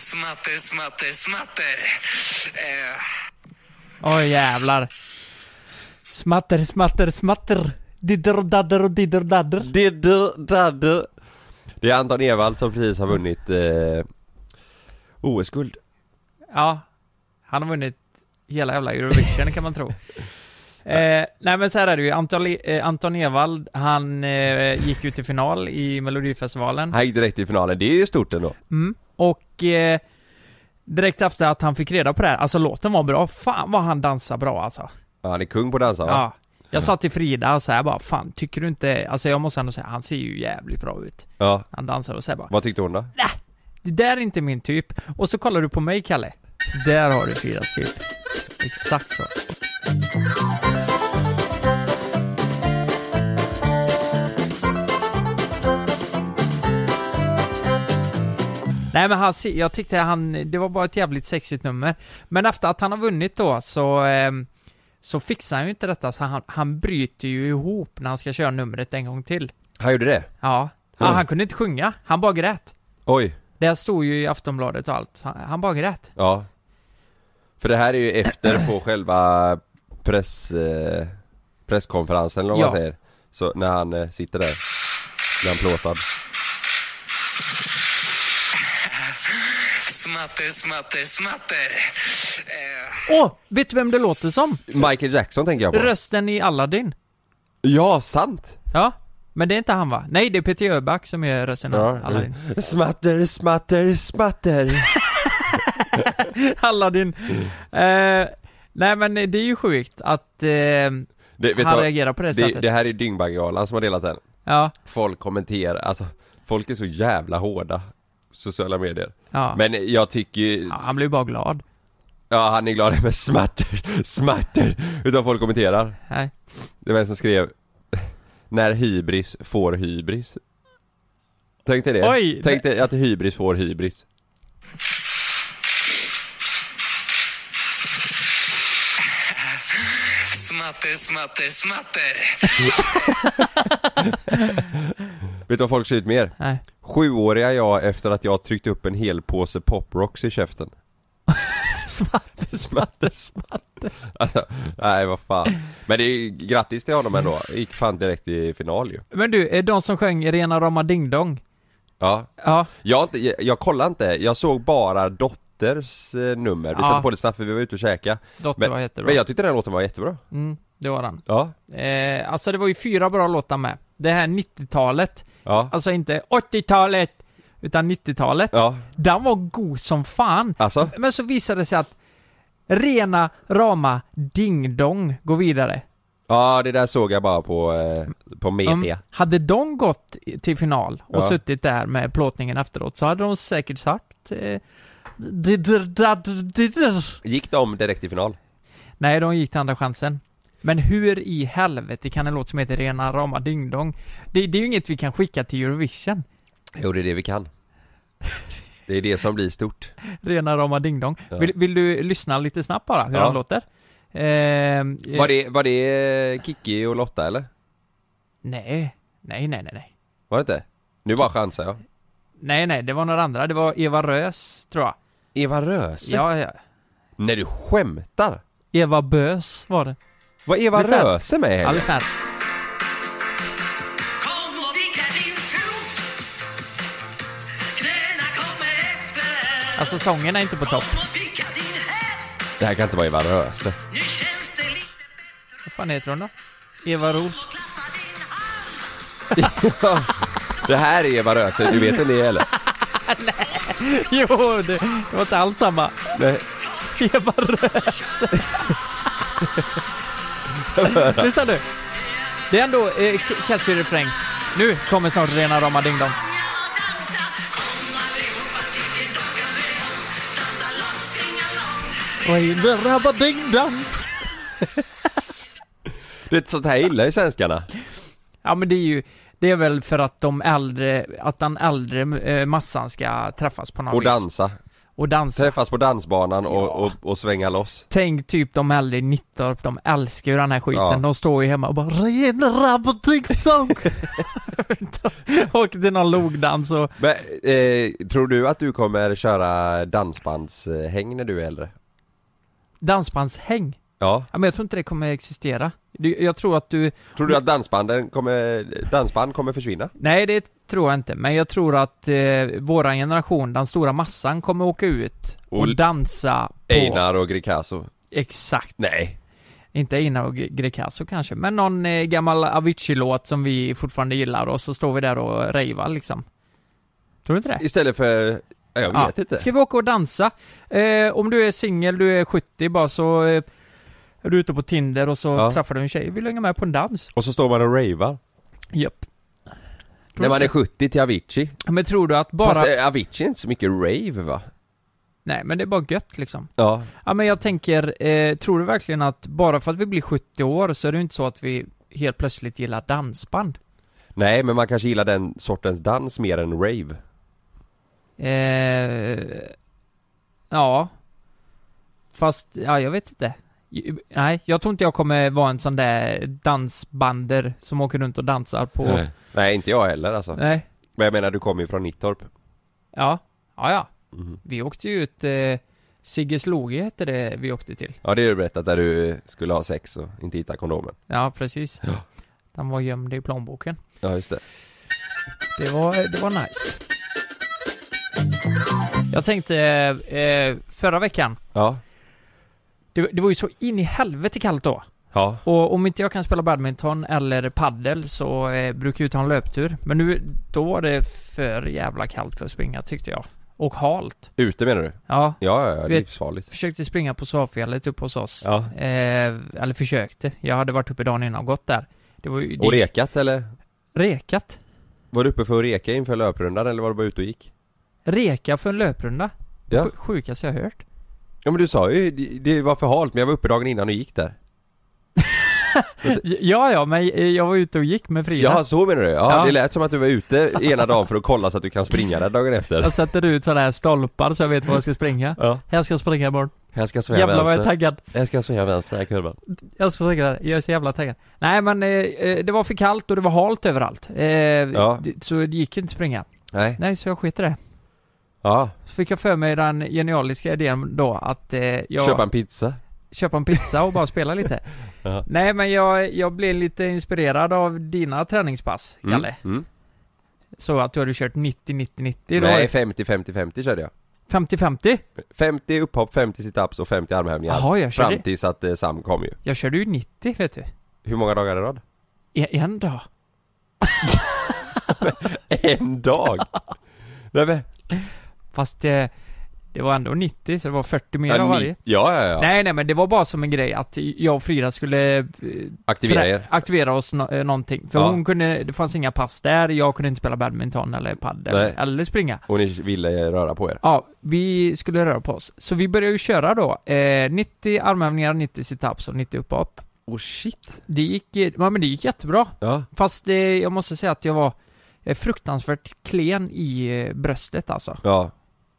smatter, smatter, smatter. Eh, Oj jävlar. Smatter, smatter, smatter. Didder, dadder och didder, dadder. Didder, dadder. Det är Anton Ewald som precis har vunnit eh, OS-guld. Ja, han har vunnit hela jävla Eurovision kan man tro. Eh, nej men så här är det ju, Anton, eh, Anton Ewald, han eh, gick ju till final i Melodifestivalen. Han gick direkt i finalen, det är ju stort ändå. Mm. Och eh, direkt efter att han fick reda på det här, alltså låten var bra, fan vad han dansar bra alltså. Ja, han är kung på att dansa va? Ja. Jag sa till Frida så här bara, fan tycker du inte, alltså jag måste ändå säga, han ser ju jävligt bra ut. ja. Han dansar och säger bara, Vad tyckte hon då? det där är inte min typ. Och så kollar du på mig Kalle. Där har du Fridas typ. Exakt så. Nej men han, se- jag tyckte han, det var bara ett jävligt sexigt nummer. Men efter att han har vunnit då så, ehm, så fixar han ju inte detta så han, han bryter ju ihop när han ska köra numret en gång till. Han gjorde det? Ja. ja Mm. han kunde inte sjunga, han bara grät. Oj, Det här stod ju i Aftonbladet och allt. Han, han bara grät. ja. För det här är ju efter på själva press, eh, presskonferensen eller vad Ja. man säger. Så när han eh, sitter där. När han plåtar. smatter, smatter, smatter. Eh, Åh! vet du vem det låter som? Michael Jackson tänker jag på. Rösten i Aladdin. Ja, sant! Ja. Men det är inte han va? Nej, det är Peter Jöback som gör rösten i Ja. Aladdin. Smatter, smatter, smatter. Aladdin. Mm. Eh, nej men det är ju sjukt att eh, Det, vet du han vad? reagerar på det, det, sättet. det här är Dyngbaggegalan som har delat den. Ja. Folk kommenterar, alltså folk är så jävla hårda. Sociala medier. ja. Men jag tycker ju, ja. Han blir ju bara glad. ja han är glad med smatter, smatter. Utan folk kommenterar. Nej. Det var en som skrev När hybris får hybris Tänk dig det, Oj, tänk dig att hybris får hybris smatter, smatter, smatter. Vet du vad folk ser ut mer? Nej. Sjuåriga jag efter att jag tryckt upp en hel påse poprocks i käften Smatter, smatter, smatter. Alltså, nej vad fan Men det är ju grattis till honom ändå, gick fan direkt i final ju Men du, är de som sjöng Rena rama ding dong? Ja, Ja. jag, har inte- jag, jag kollade inte, jag såg bara Dotters eh, nummer, vi Ja. satte på lite snabbt för vi var ute och käka Dotter Men- var jättebra. Men jag tyckte den här låten var jättebra Mm, det var han. Ja, Eh, alltså det var ju fyra bra låtar med. Det här 90-talet. ja, Alltså inte 80-talet, utan 90-talet. ja, Den var god som fan. alltså Men så visade det sig att rena rama ding-dong går vidare. Ja, det där såg jag bara på, eh, på media. Mm. hade de gått i- till final och Ja. suttit där med plåtningen efteråt så hade de säkert sagt eh, "Didder, dadder, didder." Gick de direkt i final? Nej, de gick till andra chansen. Men hur i helvete kan en låt som heter Rena rama ding-dong? Det, det är ju inget vi kan skicka till Eurovision. Jo, det är det vi kan. Det är det som blir stort. Rena rama ding-dong. Ja. Vill, vill du lyssna lite snabbt bara, hur Ja. han låter? Eh, Var det, var det Kiki och Lotta eller? Nej, nej, nej, nej, nej. Var det inte? Nu bara chansar jag. Nej, nej, det var några andra. Det var Eva Rös, tror jag. Eva Röse? Ja, ja. Nej du skämtar! Eva Bös var det. Alltså- Var Eva Lyssna här. Röse med i helgen? Alldeles här. Kom och vicka din fot. Knäna kommer efter. Alltså sången är inte på topp. Kom och vicka din häst. Det här kan inte vara Eva Röse. Nu känns det lite bättre. Vad fan heter hon då? Eva Ros. Klappa din hand. Det här är Eva Röse, du vet vem det är eller? Jo, det, det var inte alls samma. Nej. Eva Rös. Lyssna nu. Det är ändå eh, k- catchy refräng. Nu kommer snart rena rama ding dong. Det är sånt här illa i svenskarna. Ja men det är ju, det är väl för att de äldre, att den äldre eh, massan ska träffas på något Och vis. dansa. och dansa. Träffas på dansbanan och, och, och svänga loss. Tänk typ de äldre i Nittorp, de älskar ju den här skiten. Ja. De står ju hemma och bara 'Regenera på TikTok' Åker till någon logdans och Men, eh, tror du att du kommer köra dansbandshäng när du är äldre? dansbandshäng. Ja. Ja, men jag tror inte det kommer existera. Du- Jag tror att du, Tror du att dansbanden kommer, dansband kommer försvinna? nej det tror jag inte, men jag tror att eh, våran generation, den stora massan kommer åka ut och, Och- dansa på... Einar och Greekazo? Exakt. Nej. Inte Einar och Gre- Greekazo kanske, men någon eh, gammal Avicii-låt som vi fortfarande gillar och så står vi där och rejvar liksom. Tror du inte det? Istället för, ja, jag vet Ja. inte. Ska vi åka och dansa? Eh, om du är singel, du är 70 bara så eh, är du ute på Tinder och så Ja. träffar du en tjej, vill du hänga med på en dans? Och så står man och ravar. Japp. Tror När man du- är 70 till Avicii. Men tror du att bara... Bara... Fast eh, Avicii är inte så mycket rave va? Nej men det är bara gött liksom. Ja. Ja men jag tänker, eh, tror du verkligen att bara för att vi blir 70 år så är det inte så att vi helt plötsligt gillar dansband? Nej men man kanske gillar den sortens dans mer än rave. Eh, ja. Fast, ja jag vet inte. Ju- Nej, jag tror inte jag kommer vara en sån där dansbander som åker runt och dansar på... Nej. Nej inte jag heller alltså. Men jag menar du kommer ju från Nittorp. Ja. Ja, ja. Mhm. Vi åkte ju ut... Eh, Siggesloge hette det vi åkte till. Ja det är du berättat där du skulle ha sex och inte hitta kondomen. Ja, precis. Den var gömd i plånboken. Ja just det. Det var, eh, det var nice. Jag tänkte, eh, förra veckan, Ja. det, det var ju så in i helvete kallt då. Ja. Och om inte jag kan spela badminton eller paddel så eh, brukar jag ta en löptur. Men nu, då var det för jävla kallt för att springa tyckte jag. Och halt. Ute menar du? Ja, Ja ja, ja Vet- livsfarligt. försökte springa på Savfjället uppe hos oss. Ja. Eh, eller försökte. Jag hade varit uppe dagen innan och gått där. Det var ju... Och rekat eller? Rekat. Var du uppe för att reka inför löprundan eller var du bara ute och gick? Reka för en löprunda. Ja. Sj- Sjukaste jag hört. Ja men du sa ju, det- det var för halt men jag var uppe dagen innan och gick där. Ja, ja, men eh, jag var ute och gick med Frida. Ja så menar du? Ja, Ja. det lät som att du var ute ena dagen för att kolla så att du kan springa där dagen efter. Jag sätter ut sådana här stolpar så jag vet var jag ska springa. Ja. Här ska jag springa imorgon. Här ska jag svänga Jävlar vad jag är vänster. taggad. Jag ska svänga vänster här kurvan. Jag ska springa, jag är så jävla taggad. Nej men eh, eh, det var för kallt och det var halt överallt. Eh, Ja. det- Så det gick inte springa. Nej. Nej, så jag skiter i det. Ja. Så fick jag för mig den genialiska idén då att eh, jag... Köpa en pizza. köpa en pizza och bara spela lite. Ja. Nej men jag, jag blev lite inspirerad av dina träningspass, Kalle. Mm. Så att du hade kört 90-90-90 då. Nej 50-50-50 körde jag. 50-50? 50 upphopp, 50 situps och 50 armhävningar. Jaha, jag körde, Fram tills att eh, Sam kom ju. jag körde ju 90 vet du. Hur många dagar i rad? En, en dag. En dag! Nej men, Fast det, det var ändå 90 så det var 40 mer av ja, varje. ni, ja, ja, ja. Nej nej men det var bara som en grej att jag och Frida skulle eh, Aktivera trä- er. aktivera oss nå- eh, någonting. För Ja. hon kunde, det fanns inga pass där, jag kunde inte spela badminton eller padel Nej. eller springa. Och ni ville eh, röra på er. Ja, vi skulle röra på oss. Så vi började ju köra då, eh, 90 armhävningar, 90 situps och 90 upphopp. Oh shit. Det gick, eh, ja, men det gick jättebra. Ja. Fast eh, jag måste säga att jag var eh, fruktansvärt klen i eh, bröstet alltså. Ja,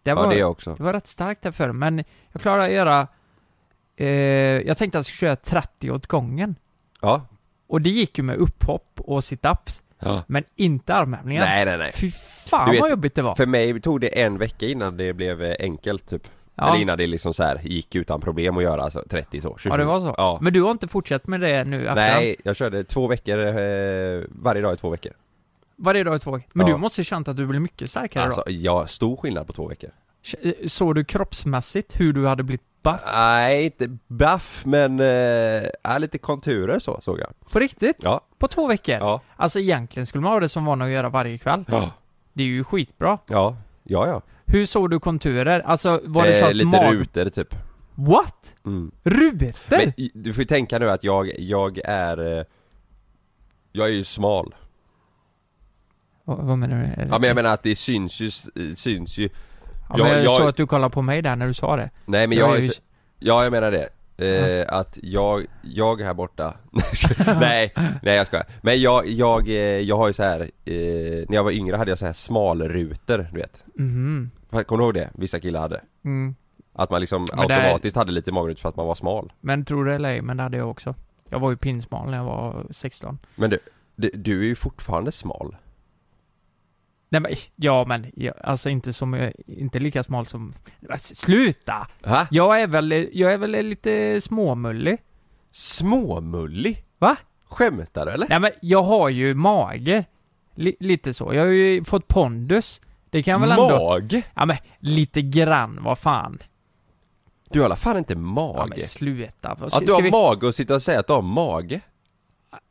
Det ja var, det det, också. var rätt starkt där för men jag klarade att göra, eh, jag tänkte att jag skulle köra 30 åt gången. Ja. Och det gick ju med upphopp och situps, ja. men inte armhävningar. Nej, nej, nej. Fy fan Du vet- vad jobbigt det var. För mig tog det en vecka innan det blev eh, enkelt typ. Ja. Eller innan det liksom så här gick utan problem att göra alltså, 30 så. 27. Ja det var så. Ja. Men du har inte fortsatt med det nu efterhand? Nej, jag körde två veckor, eh, varje dag i två veckor. Varje dag i två veckor. Men Ja. du måste känt att du blev mycket starkare Alltså, ja, stor skillnad på två veckor. då? Såg du kroppsmässigt hur du hade blivit buff? Nej, inte baff men, eh, ja, lite konturer så såg jag. På riktigt? Ja, På två veckor? ja, Alltså egentligen skulle man ha det som vana att göra varje kväll. ja, Det är ju skitbra. ja, ja. ja. Hur såg du konturer? Alltså var det Eh, så att lite mag... rutor typ. What? Mm. Rutor? Men i- du får ju tänka nu att jag, jag är, eh, jag är ju smal. Vad- Vad menar du? Ja men jag menar att det syns ju, eh, syns ju Ja, men jag- jag, jag- såg att du kollade på mig där när du sa det. Nej men Du jag, har är ju- så- ja jag menar det. Eh, Att jag, jag här borta, nej, nej jag skojar. Men jag, jag, eh, jag har ju så här eh, när jag var yngre hade jag så här smalrutor, du vet. Mhm. Kommer du ihåg det? Vissa killar hade. Mm. Att man liksom Men det här- automatiskt hade lite magerut för att man var smal. Men tror det eller ej, men det hade jag också. Jag var ju pinsmal när jag var 16. Men du, du, du är ju fortfarande smal. Nej men, ja men, ja, alltså inte som, inte lika smal som... Sluta! Va? Jag är väl, eh, jag är väl lite småmullig. Småmullig? Va? Skämtar du eller? Nej men jag har ju mage. Li, lite så. Jag har ju fått pondus. Det kan jag väl ändå... Mage? Ja men, lite grann, vad fan. Du har i alla fall inte Ja mage. men sluta. Vad- att du ska har vi- mage och sitta och säga att du har mage?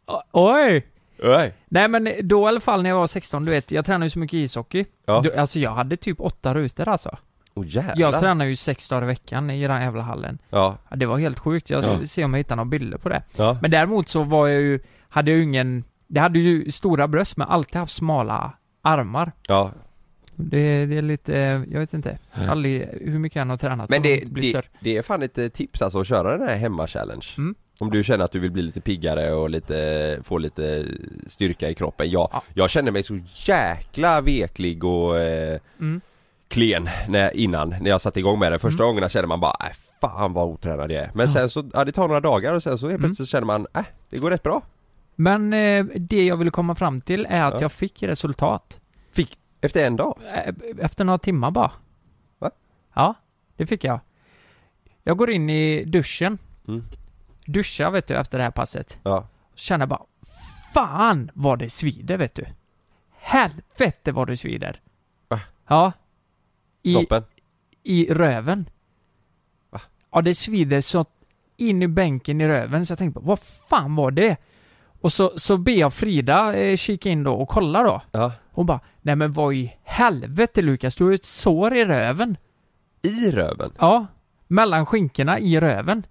O- Oj! Nej. Nej men då i alla fall när jag var 16, du vet, jag tränade ju så mycket ishockey. Ja. Du, alltså jag hade typ åtta rutor alltså. Åh jävlar. Jag tränade ju sex dagar i veckan i den jävla hallen. Ja. Ja, det var helt sjukt, jag Ja. s- ser om jag hittar några bilder på det. Ja. Men däremot så var jag ju, hade jag ju ingen, det hade ju stora bröst men alltid haft smala armar. ja. Det, det är lite, eh, jag vet inte, aldrig, hur mycket jag än har tränat Men så det, har de blivit det, större. det är fan ett eh, tips alltså att köra den här hemma-challenge. Mm. Om du känner att du vill bli lite piggare och lite, få lite styrka i kroppen. Jag, Ja. jag kände mig så jäkla veklig och eh, Mm. klen när, innan, när jag satte igång med det. Första gångerna kände man bara äh, fan vad otränad jag är. Men sen så, ja det tar några dagar och sen så Mm. helt plötsligt så känner man äh, det går rätt bra. Men eh, det jag ville komma fram till är att Ja. jag fick resultat. Fick, efter en dag. Eh, Efter några timmar bara. Va? Ja, det fick jag. Jag går in i duschen. Mm. Duscha vet du efter det här passet. Ja. Känner jag bara, fan vad det svider vet du. Helvete vad det svider. Va? Ja. I, Toppen. i röven. Va? Ja, det svider så in i bänken i röven så jag tänkte bara, vad fan var det? Och så, så ber jag Frida eh, kika in då och kolla då. Ja. Hon bara, nej men vad i helvete Lukas, du har ju ett sår i röven. I röven. Ja, mellan skinkorna i röven.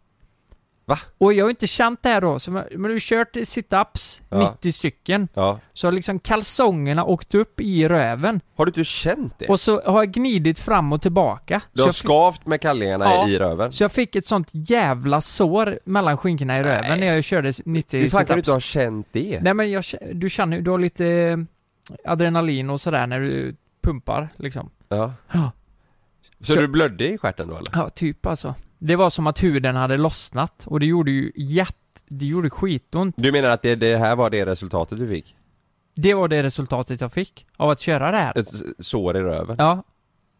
Va? Och jag har ju inte känt det här då, så, men men du har kört sit-ups, Ja. 90 stycken. Ja. Så har liksom kalsongerna åkt upp i röven. Har du inte känt det? Och så har jag gnidit fram och tillbaka. Du så har jag fick- skavt med kallingarna Ja. i röven. Så jag fick ett sånt jävla sår mellan skinkorna i röven när jag körde 90 Hur fan kan du situps. inte ha känt det? Nej men jag, kä- du känner ju, du har lite eh, adrenalin och sådär när du pumpar liksom. Ja. Ja. Så, Så- du blödde i stjärten då eller? Ja, typ alltså. Det var som att huden hade lossnat och det gjorde ju jätt... Det gjorde skitont. Du menar att det, det här var det resultatet du fick? Det var det resultatet jag fick av att köra det här. Ett s- sår i röven? Ja.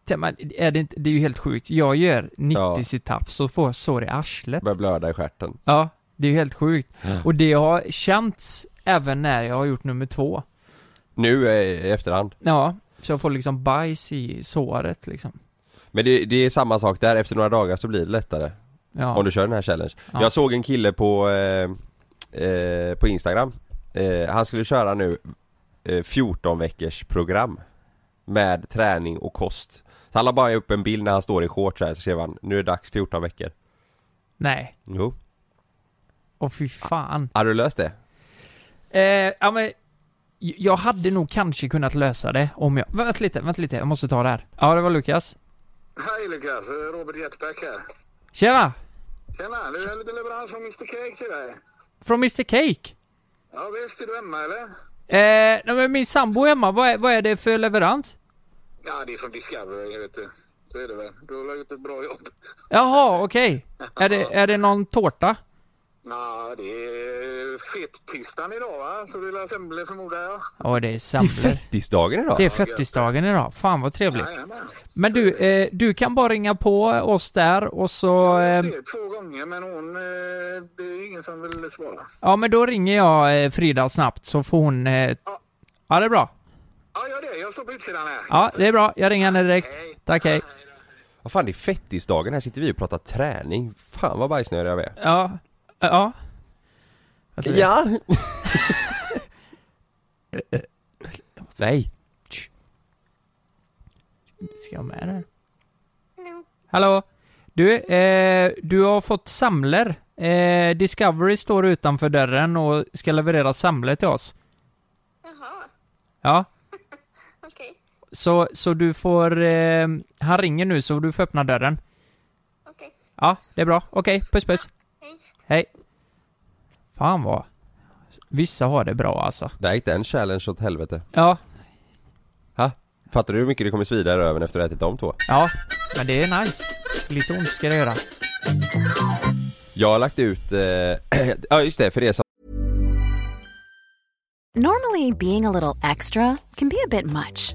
Tänk, Men är det, inte, det är ju helt sjukt. Jag gör 90 Ja. situps och får sår i arslet. Började blöda i stjärten? Ja, det är ju helt sjukt. Och det har känts även när jag har gjort nummer två. Nu eh, i efterhand? Ja, så jag får liksom bajs i såret liksom. Men det, det är samma sak där, efter några dagar så blir det lättare Ja. om du kör den här challenge Ja. Jag såg en kille på, eh, eh, på Instagram eh, Han skulle köra nu eh, 14 veckors program Med träning och kost Så han la bara upp en bild när han står i shorts här, så skrev han Nu är det dags 14 veckor Nej. Jo, Åh fy fan. har du löst det? Eh, ja men, j- jag hade nog kanske kunnat lösa det om jag... Vänta lite, vänta lite, jag måste ta det här. Ja, det var Lukas. Hej Lukas, Robert Jetback här. Tjena! Tjena, du har lite leverans från Mr Cake till dig. Från Mr Cake. Ja visst, är du hemma eller? Eh, nej men min sambo Emma, vad är, vad är det för leverans? Ja, det är från Discovery, vet du. Så är det väl. Du har lagt ut ett bra jobb. Jaha, okej. Är, det, är det någon tårta? Ja, det är fettpistan idag va? Så det är väl semlor förmodar jag. Ja, det är Det är semlor. fettisdagen idag! Det är fettisdagen idag. Fan vad trevligt. Jajamän. Men du, eh, du kan bara ringa på oss där och så... Eh, Det är två gånger, men hon... eh, Det är ingen som vill svara. ja men då ringer jag eh, Frida snabbt så får hon... Eh, Ja. ja det är bra. Ja, gör det. Jag står på utsidan här. Ja det är bra, jag ringer henne direkt. Hej. Tack hej. då. Vad fan det är fettisdagen, här sitter vi och pratar träning. Fan vad bajsnödiga vi är. Ja. Ja. Vänta lite. Ja! Nej! Ska jag med det? Hallå? Du, eh, du har fått semlor. Eh, Discovery står utanför dörren och ska leverera semlor till oss. Jaha, Ja. okej. Så, så du får... Eh, han ringer nu så du får öppna dörren. okej. Ja, det är bra. Okej, puss puss. Hej. Hej. Fan vad... Vissa har det bra alltså. Där gick den challenge åt helvete. Ja. Ha? Fattar du hur mycket det kommer svida i röven efter att ha ätit de två? Ja, men det är nice. Lite ont ska det göra. Jag har lagt ut, eh, ja just det, för er som Normally, being a little extra can be a bit much,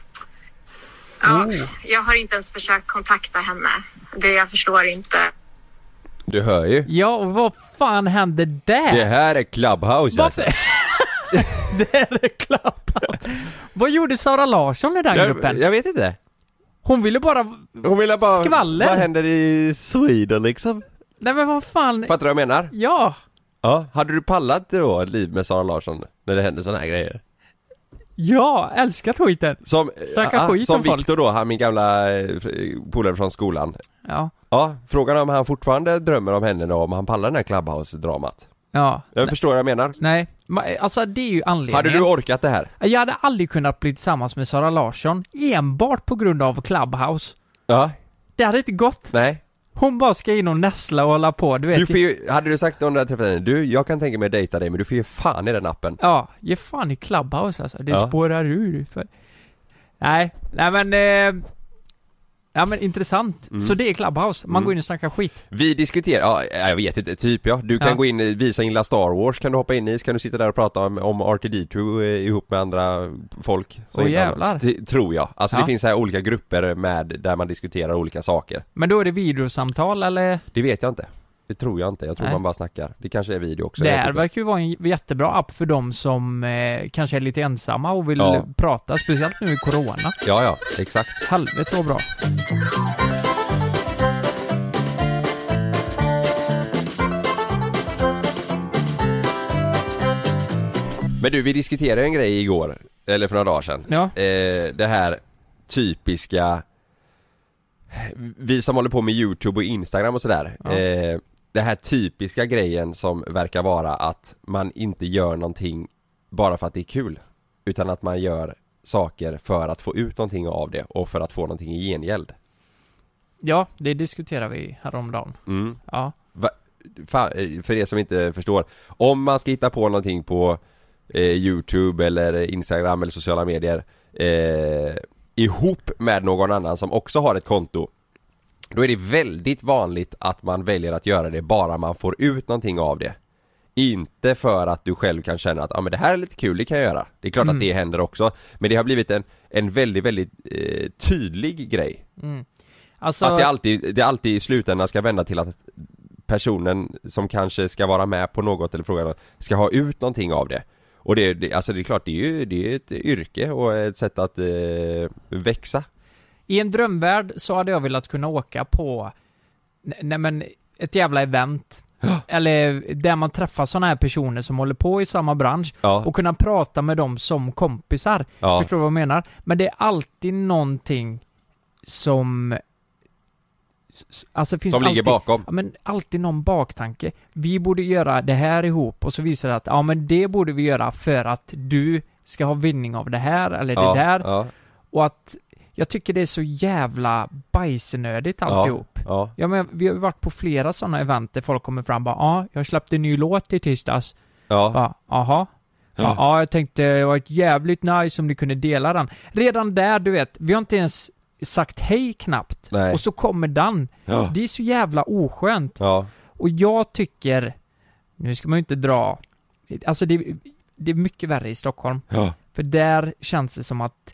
Ja, Mm. Jag har inte ens försökt kontakta henne. Det jag förstår inte. Du hör ju. Ja, och vad fan hände där? Det här är Clubhouse alltså. Varför? det är klappat. Vad gjorde Sara Larsson i den Jag, gruppen? jag vet inte. Hon ville bara... Hon ville bara... Skvaller. Vad händer i Sweden liksom? Nej men vad fan. Fattar du vad jag menar? Ja. Ja. Hade du pallat då ett liv med Sara Larsson? När det händer såna här grejer? Ja, älskat skiten. Som, Snacka ah, skit som om folk. Viktor då, han min gamla eh, polare från skolan. Ja. Ja, frågan är om han fortfarande drömmer om henne då, om han pallar den här Clubhouse-dramat. Ja. Jag förstår vad jag menar. Nej. Ma- Alltså det är ju anledningen. Hade du orkat det här? Jag hade aldrig kunnat bli tillsammans med Sara Larsson enbart på grund av Clubhouse. Ja. Det hade inte gått. Nej. Hon bara ska in och näsla och hålla på, du vet. Du får ju, hade du sagt om du hade träffat henne, du, jag kan tänka mig att dejta dig men du får ju fan i den appen. Ja, ge fan i Clubhouse alltså. Det Ja. spårar ur. För... Nej, nej men... Eh... Ja men intressant. Mm. Så det är Clubhouse, man går in och snackar skit. Vi diskuterar, ja, jag vet inte, typ ja. Du kan Ja. gå in i, vi som gillar Star Wars kan du hoppa in i, så kan du sitta där och prata om, om R2D2 eh, ihop med andra folk. som Åh, gillar- jävlar. T- tror jag. Alltså Ja. det finns så här olika grupper med, där man diskuterar olika saker. Men då är det videosamtal eller? Det vet jag inte. Det tror jag inte, jag tror Nej. man bara snackar. Det kanske är typ video också. det jag vet här inte. verkar ju vara en jättebra app för de som eh, kanske är lite ensamma och vill Ja. prata, speciellt nu i corona. Ja, ja, exakt. Helvete vad bra. Men du, vi diskuterade en grej igår, eller för några dagar sedan. Ja. Eh, det här typiska, vi som håller på med YouTube och Instagram och sådär. Eh, det här typiska grejen som verkar vara att man inte gör någonting bara för att det är kul. Utan att man gör saker för att få ut någonting av det och för att få någonting i gengäld. Ja, det diskuterar vi häromdagen. Mm. Ja. Va, fa, eh, för er som inte förstår. Om man ska hitta på någonting på eh, Youtube eller Instagram eller sociala medier eh, ihop med någon annan som också har ett konto. Då är det väldigt vanligt att man väljer att göra det bara man får ut någonting av det. Inte för att du själv kan känna att ah, men det här är lite kul, det kan jag göra. Det är klart att det händer också. Men det har blivit en, en väldigt, väldigt eh, tydlig grej. Alltså, Att det alltid, det alltid i slutändan ska vända till att personen som kanske ska vara med på något eller fråga något ska ha ut någonting av det. Och det, det alltså det är klart, det är ju det är ett yrke och ett sätt att eh, växa. I en drömvärld så hade jag velat kunna åka på, n- nej men, ett jävla event. Eller där man träffar sådana här personer som håller på i samma bransch Ja. och kunna prata med dem som kompisar. Ja. Förstår du vad jag menar? Men det är alltid någonting som... s- s- Alltså finns Som ligger alltid, bakom. Ja, men alltid någon baktanke. Vi borde göra det här ihop och så visar det att ja men det borde vi göra för att du ska ha vinning av det här eller ja, det där. Ja, Och att jag tycker det är så jävla bajsnödigt ja, alltihop. Ja. Ja, men vi har ju varit på flera sådana event där folk kommer fram och bara ja, jag släppte en ny låt i tisdags. ja, Bara, Jaha. Ja, ja, jag tänkte det var ett jävligt nice om ni kunde dela den. Redan där, du vet, vi har inte ens sagt hej knappt. Nej. Och så kommer den. Ja. Det är så jävla oskönt. ja, Och jag tycker, nu ska man ju inte dra, alltså det, det är mycket värre i Stockholm. ja, För där känns det som att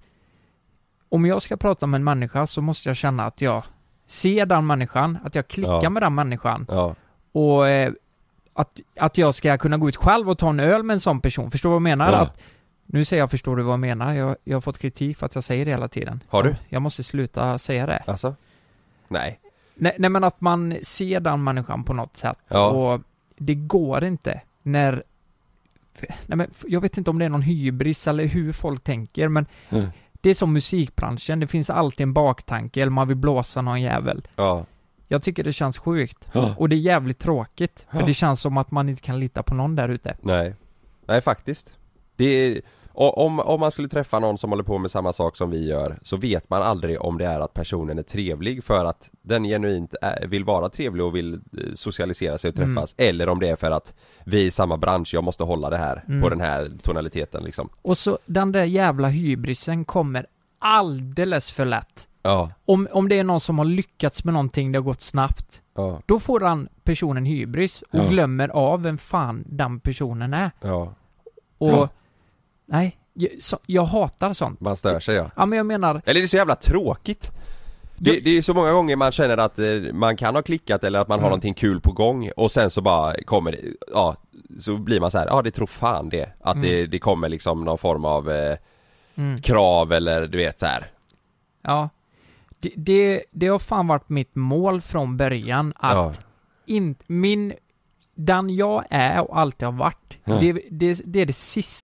om jag ska prata med en människa så måste jag känna att jag ser den människan, att jag klickar Ja. med den människan ja, och eh, att, att jag ska kunna gå ut själv och ta en öl med en sån person. Förstår du vad jag menar? Ja. Att, nu säger jag förstår du vad jag menar. Jag, jag har fått kritik för att jag säger det hela tiden. Har du? Jag måste sluta säga det. alltså? Nej, Nej, nej men att man ser den människan på något sätt Ja. och det går inte när Nej, men f- jag vet inte om det är någon hybris eller hur folk tänker men Mm. det är som musikbranschen, det finns alltid en baktanke eller man vill blåsa någon jävel. ja, Jag tycker det känns sjukt Ja. och det är jävligt tråkigt för Ja. det känns som att man inte kan lita på någon där ute. nej, nej faktiskt. Det är, Och om, om man skulle träffa någon som håller på med samma sak som vi gör så vet man aldrig om det är att personen är trevlig för att den genuint är, vill vara trevlig och vill eh, socialisera sig och träffas eller om det är för att vi är i samma bransch, jag måste hålla det här på den här tonaliteten liksom. Och så den där jävla hybrisen kommer alldeles för lätt. Ja, Om, om det är någon som har lyckats med någonting, det har gått snabbt. ja, Då får den personen hybris och Ja. glömmer av vem fan den personen är. ja. Och... Ja. Nej, jag, så, jag hatar sånt. Man stör sig ja. Ja men jag menar, Eller det är så jävla tråkigt. Det, det är så många gånger man känner att eh, man kan ha klickat eller att man Mm. har någonting kul på gång och sen så bara kommer det, ja, så blir man så här, ja det tror fan det. Att det, Mm. det kommer liksom någon form av eh, krav eller du vet så här. ja. Det, det, det har fan varit mitt mål från början Ja. att in, min, den jag är och alltid har varit, det, det, det är det sista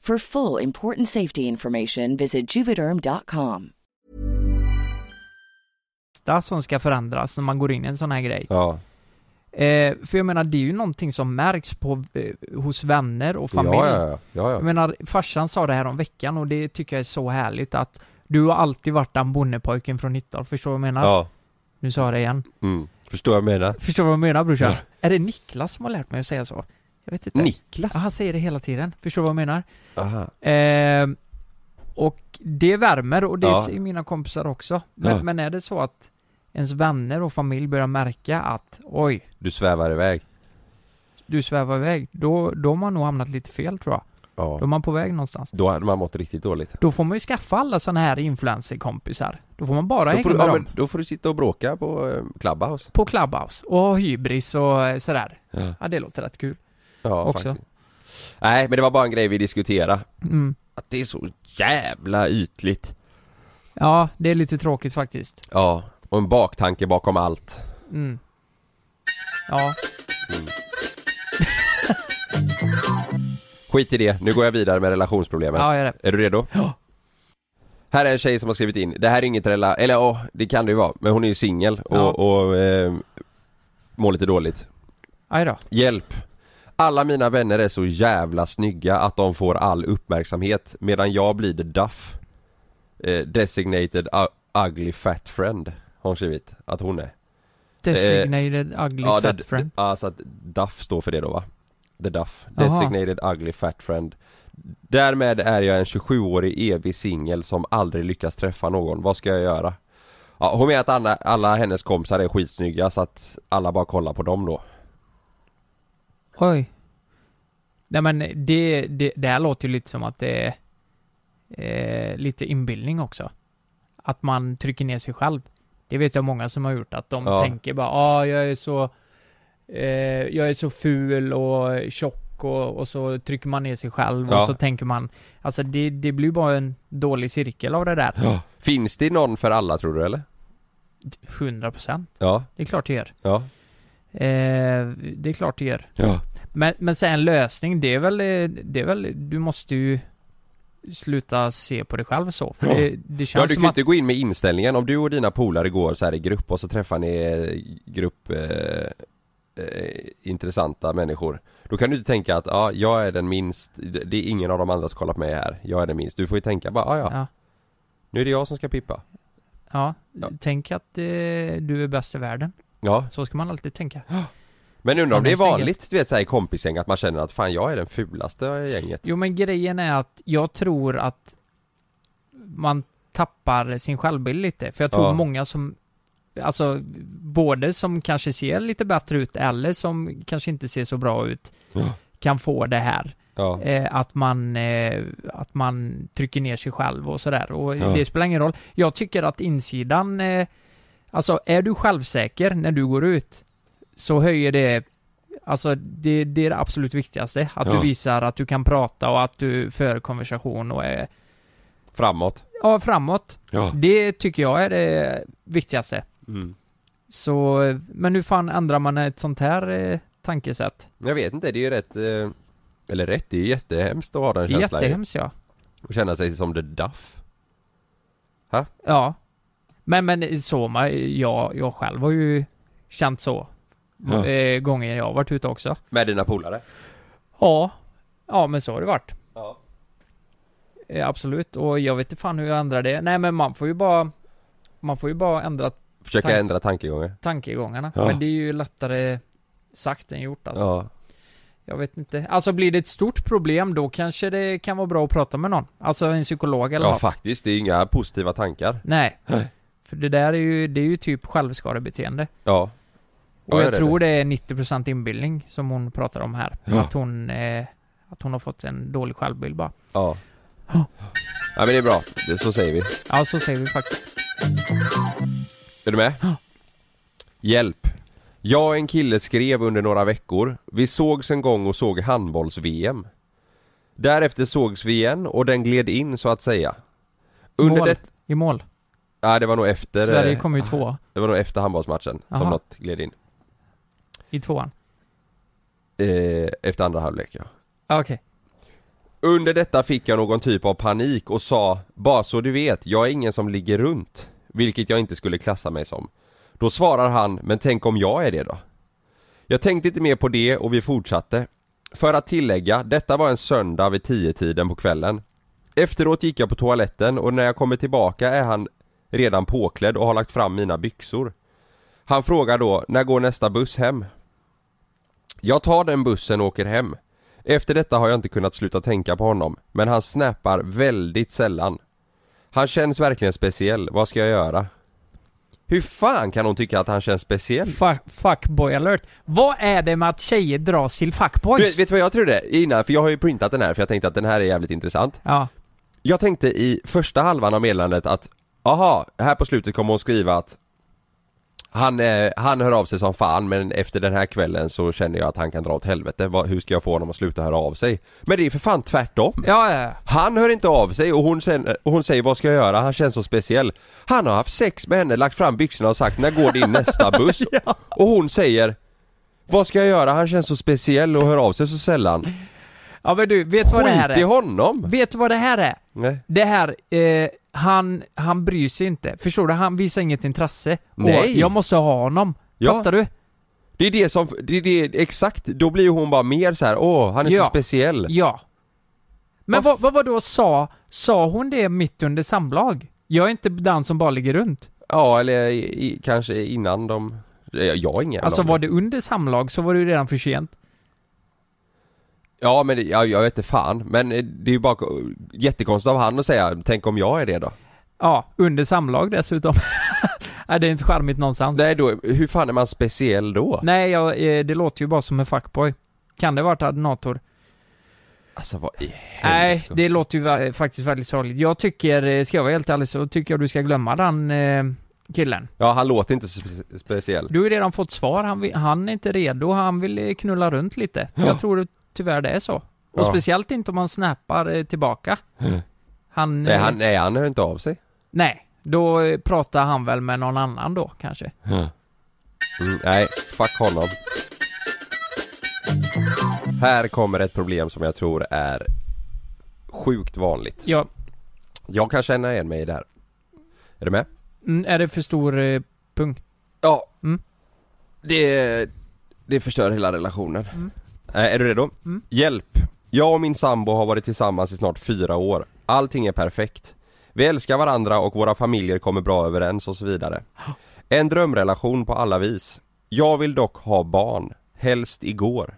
For full important safety information, visit juvederm.com. som ska förändras när man går in i en sån här grej. Ja, Eh, för jag menar, det är ju någonting som märks på, eh, hos vänner och ja, familj. ja, ja, Jag ja. menar, farsan sa det här om veckan och det tycker jag är så härligt att du har alltid varit den bonnepojken från Nittorp, förstår du vad jag menar? ja. Nu sa jag det igen. Mm. Förstår vad jag menar? Förstår du vad jag menar brorsan? Ja. Är det Niklas som har lärt mig att säga så? Jag vet inte. Niklas? Ja, han säger det hela tiden. Förstår du vad jag menar? Aha. Eh, och det värmer och det Ja. ser mina kompisar också. Men, Ja. men är det så att ens vänner och familj börjar märka att oj, Du svävar iväg. du svävar iväg, då, då har man nog hamnat lite fel tror jag. Ja. Då är man på väg någonstans. Då hade man mått riktigt dåligt. Då får man ju skaffa alla såna här influencerkompisar. Då får man bara Då hänga får, du, med ja, dem. men, då får du sitta och bråka på eh, Clubhouse. På Clubhouse och ha hybris och eh, sådär. Ja. Ja, det låter rätt kul. Ja, Också. faktiskt. Nej, men det var bara en grej vi diskuterade. Mm. Att det är så jävla ytligt. Ja, det är lite tråkigt faktiskt. Ja, och en baktanke bakom allt. Mm. Ja, Skit i det, nu går jag vidare med relationsproblemen. ja, jag är det. Är du redo? Ja. Här är en tjej som har skrivit in, det här är inget rela... Eller ja, det kan det ju vara, men hon är ju singel och, Ja. och eh, mår lite dåligt. Aj då. Hjälp! Alla mina vänner är så jävla snygga att de får all uppmärksamhet medan jag blir the duff. Eh, designated u- ugly fat friend, har hon skrivit att hon är. Designated ugly Eh, Ja, fat det- friend. Ja, så att DUF står för det då va? The DUF, Jaha. Designated Ugly Fat Friend Därmed är jag en 27-årig evig singel som aldrig lyckas träffa någon, vad ska jag göra? Ja, hon menar att alla, alla hennes kompisar är skitsnygga så att alla bara kollar på dem då Oj. Nej men det, det, det här låter ju lite som att det är eh, lite inbildning också. Att man trycker ner sig själv. Det vet jag många som har gjort, att de Ja. tänker bara ah, jag är så eh, jag är så ful och tjock och, och så trycker man ner sig själv Ja. och så tänker man Alltså det, det blir bara en dålig cirkel av det där. Finns det någon för alla tror du eller? 100% Ja, Det är klart det gör. ja, Eh, det är klart det gör. Ja. Men, men sen en lösning, det är väl, eh, det är väl, du måste ju sluta se på dig själv så. För Ja. det, det Ja känns du kan som ju att... inte gå in med inställningen om du och dina polare går så här i grupp och så träffar ni eh, grupp eh, eh, intressanta människor Då kan du inte tänka att ja, jag är den minst, det det är ingen av de andra som kollat mig här, jag är den minst Du får ju tänka bara, ah, ja, Ja. nu är det jag som ska pippa Ja, tänk att eh, du är bäst i världen. Ja, Så ska man alltid tänka. men undrar Men om det är det är vanligt du vet såhär i kompisgäng att man känner att fan jag är den fulaste i gänget Jo men grejen är att jag tror att man tappar sin självbild lite. För jag tror Ja. många som, alltså både som kanske ser lite bättre ut eller som kanske inte ser så bra ut Ja. kan få det här. Ja, Eh, att, man, eh, att man trycker ner sig själv och sådär. Och Ja. det spelar ingen roll. Jag tycker att insidan, eh, alltså är du självsäker när du går ut så höjer det Alltså det, det är det absolut viktigaste. Att Ja. du visar att du kan prata och att du för konversation och är framåt ja, framåt. Ja, Det tycker jag är det viktigaste. mm. Så, eh, men hur fan ändrar man ett sånt här eh, tankesätt? jag vet inte, det är ju rätt eh, Eller rätt, det är ju jättehemskt att ha den Det är känslan ju. jättehemskt ja. Och känna sig som the duff Ja. Men, men så, man- jag, jag själv har ju känt så. Ja. Eh, gånger jag har varit ute också. Med dina polare? Ja. Ja, men så har det varit. Ja Eh, absolut. Och jag vet inte fan hur jag ändrar det. Nej, men man får ju bara... Man får ju bara ändra Försöka Tank- ändra tankegångar tankegångarna. Ja. Men det är ju lättare sagt än gjort alltså. Ja Jag vet inte. Alltså blir det ett stort problem då kanske det kan vara bra att prata med någon. Alltså en psykolog eller Ja något. faktiskt, det är inga positiva tankar Nej. Nej. För det där är ju, det är ju typ självskadebeteende. Ja Och Ja, jag det är tror det är 90% inbildning som hon pratar om här. Ja. Att hon, eh, att hon har fått en dålig självbild bara. Ja Ja. Ja men det är bra, det, så säger vi Ja, så säger vi faktiskt. Är du med? Hjälp Jag och en kille skrev under några veckor Vi sågs en gång och såg handbolls-VM Därefter sågs vi igen och den gled in så att säga Under mål. det... I mål. Nej det var nog efter Sverige eh, kom ju två Det var nog efter handbollsmatchen Aha. som något gled in i tvåan. eh, Efter andra halvlek ja Ah, Okej. Under detta fick jag någon typ av panik och sa Bara så du vet, jag är ingen som ligger runt Vilket jag inte skulle klassa mig som Då svarar han, men tänk om jag är det då? Jag tänkte inte mer på det och vi fortsatte För att tillägga, detta var en söndag vid 10-tiden på kvällen Efteråt gick jag på toaletten och när jag kommer tillbaka är han redan påklädd och har lagt fram mina byxor Han frågar då, när går nästa buss hem? Jag tar den bussen och åker hem efter detta har jag inte kunnat sluta tänka på honom, men han snappar väldigt sällan. Han känns verkligen speciell, vad ska jag göra? Hur fan kan hon tycka att han känns speciell? Fu- Fuckboy alert. Vad är det med att tjejer dras till fuckboys? Du, vet du vad jag trodde innan? För jag har ju printat den här för jag tänkte att den här är jävligt intressant. Ja. Jag tänkte i första halvan av meddelandet att, aha, här på slutet kommer hon skriva att han, eh, han hör av sig som fan men efter den här kvällen så känner jag att han kan dra åt helvete. Vad- hur ska jag få honom att sluta höra av sig? Men det är ju för fan tvärtom! Ja, ja, ja. Han hör inte av sig och hon, sen, och hon säger vad ska jag göra, han känns så speciell. Han har haft sex med henne, lagt fram byxorna och sagt när går din nästa buss? Och hon säger vad ska jag göra, han känns så speciell och hör av sig så sällan. Ja men du, vet du vad det här Skit i är? honom! Vet du vad det här är? Nej. Det här, eh, han, han bryr sig inte. Förstår du? Han visar inget intresse. Och Nej. jag måste ha honom. Ja. Fattar du? Det är det som, det är det, exakt, då blir hon bara mer så här. åh han är Ja. så speciell. Ja. Men Vad vad, vad, vad då sa, sa hon det mitt under samlag? Jag är inte den som bara ligger runt. Ja eller i, i, kanske innan de, jag, jag har ingen Alltså aning. var det under samlag så var det ju redan för sent. Ja men det- jag, jag vet inte fan, men eh, det är ju bara jättekonstigt av han att säga, tänk om jag är det då? Ja, under samlag dessutom. Nej, det är inte charmigt någonstans. Nej då, hur fan är man speciell då? Nej, jag, eh, det låter ju bara som en fuckboy. Kan det varit adnator? Alltså vad i Nej, helskotta? det låter ju va- faktiskt väldigt sorgligt. Jag tycker, eh, ska jag vara helt ärlig så tycker jag du ska glömma den eh, killen. Ja, han låter inte så spe- speciell. Du har ju redan fått svar, han, vill, han är inte redo, han vill eh, knulla runt lite. Jag tror tyvärr det är så. Och Ja. Mm. speciellt inte om man snappar eh, tillbaka. Han, Nej, eh, han, nej, han hör inte av sig. nej, då eh, pratar han väl med någon annan då kanske. Mm, nej. Fuck honom. Här kommer ett problem som jag tror är sjukt vanligt. Ja. Jag kan känna igen mig där. Är du med? Mm, är det för stor eh, pung? Ja. Mm. Det, det förstör hela relationen. Mm. Eh, Är du redo? Mm. Hjälp! Jag och min sambo har varit tillsammans i snart fyra år. Allting är perfekt. Vi älskar varandra och våra familjer kommer bra överens och så vidare. En drömrelation på alla vis. Jag vill dock ha barn. Helst igår.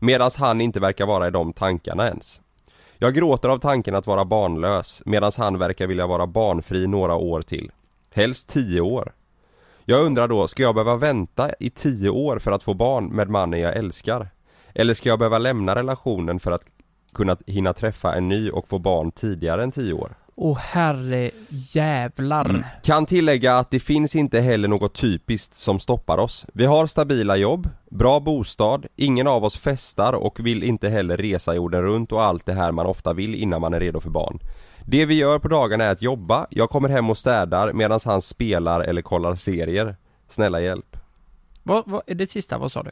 Medan han inte verkar vara i de tankarna ens. Jag gråter av tanken att vara barnlös medan han verkar vilja vara barnfri några år till. Helst tio år. Jag undrar då, ska jag behöva vänta i tio år för att få barn med mannen jag älskar? Eller ska jag behöva lämna relationen för att kunna hinna träffa en ny och få barn tidigare än tio år? Åh herre jävlar. Kan tillägga att det finns inte heller något typiskt som stoppar oss. Vi har stabila jobb, bra bostad, ingen av oss festar och vill inte heller resa jorden runt och allt det här man ofta vill innan man är redo för barn. Det vi gör på dagarna är att jobba, jag kommer hem och städar medan han spelar eller kollar serier. Snälla hjälp. Vad, vad, det sista, vad sa du?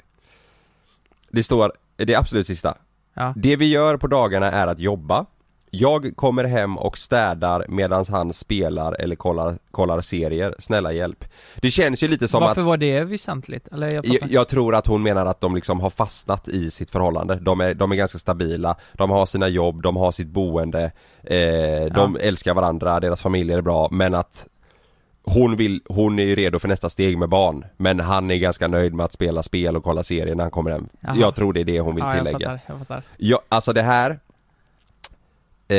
Det står, det är absolut sista. Ja. Det vi gör på dagarna är att jobba. Jag kommer hem och städar medan han spelar eller kollar, kollar serier. Snälla hjälp. Det känns ju lite som Varför att var det väsentligt? Eller jag fattar jag, jag tror att hon menar att de liksom har fastnat i sitt förhållande. De är, de är ganska stabila, de har sina jobb, de har sitt boende, eh, de älskar varandra, deras familjer är bra, men att hon, vill, hon är ju redo för nästa steg med barn, men han är ganska nöjd med att spela spel och kolla serier när han kommer hem. Jaha. Jag tror det är det hon vill ja, tillägga. Jag fattar, jag fattar. Ja, alltså det här eh,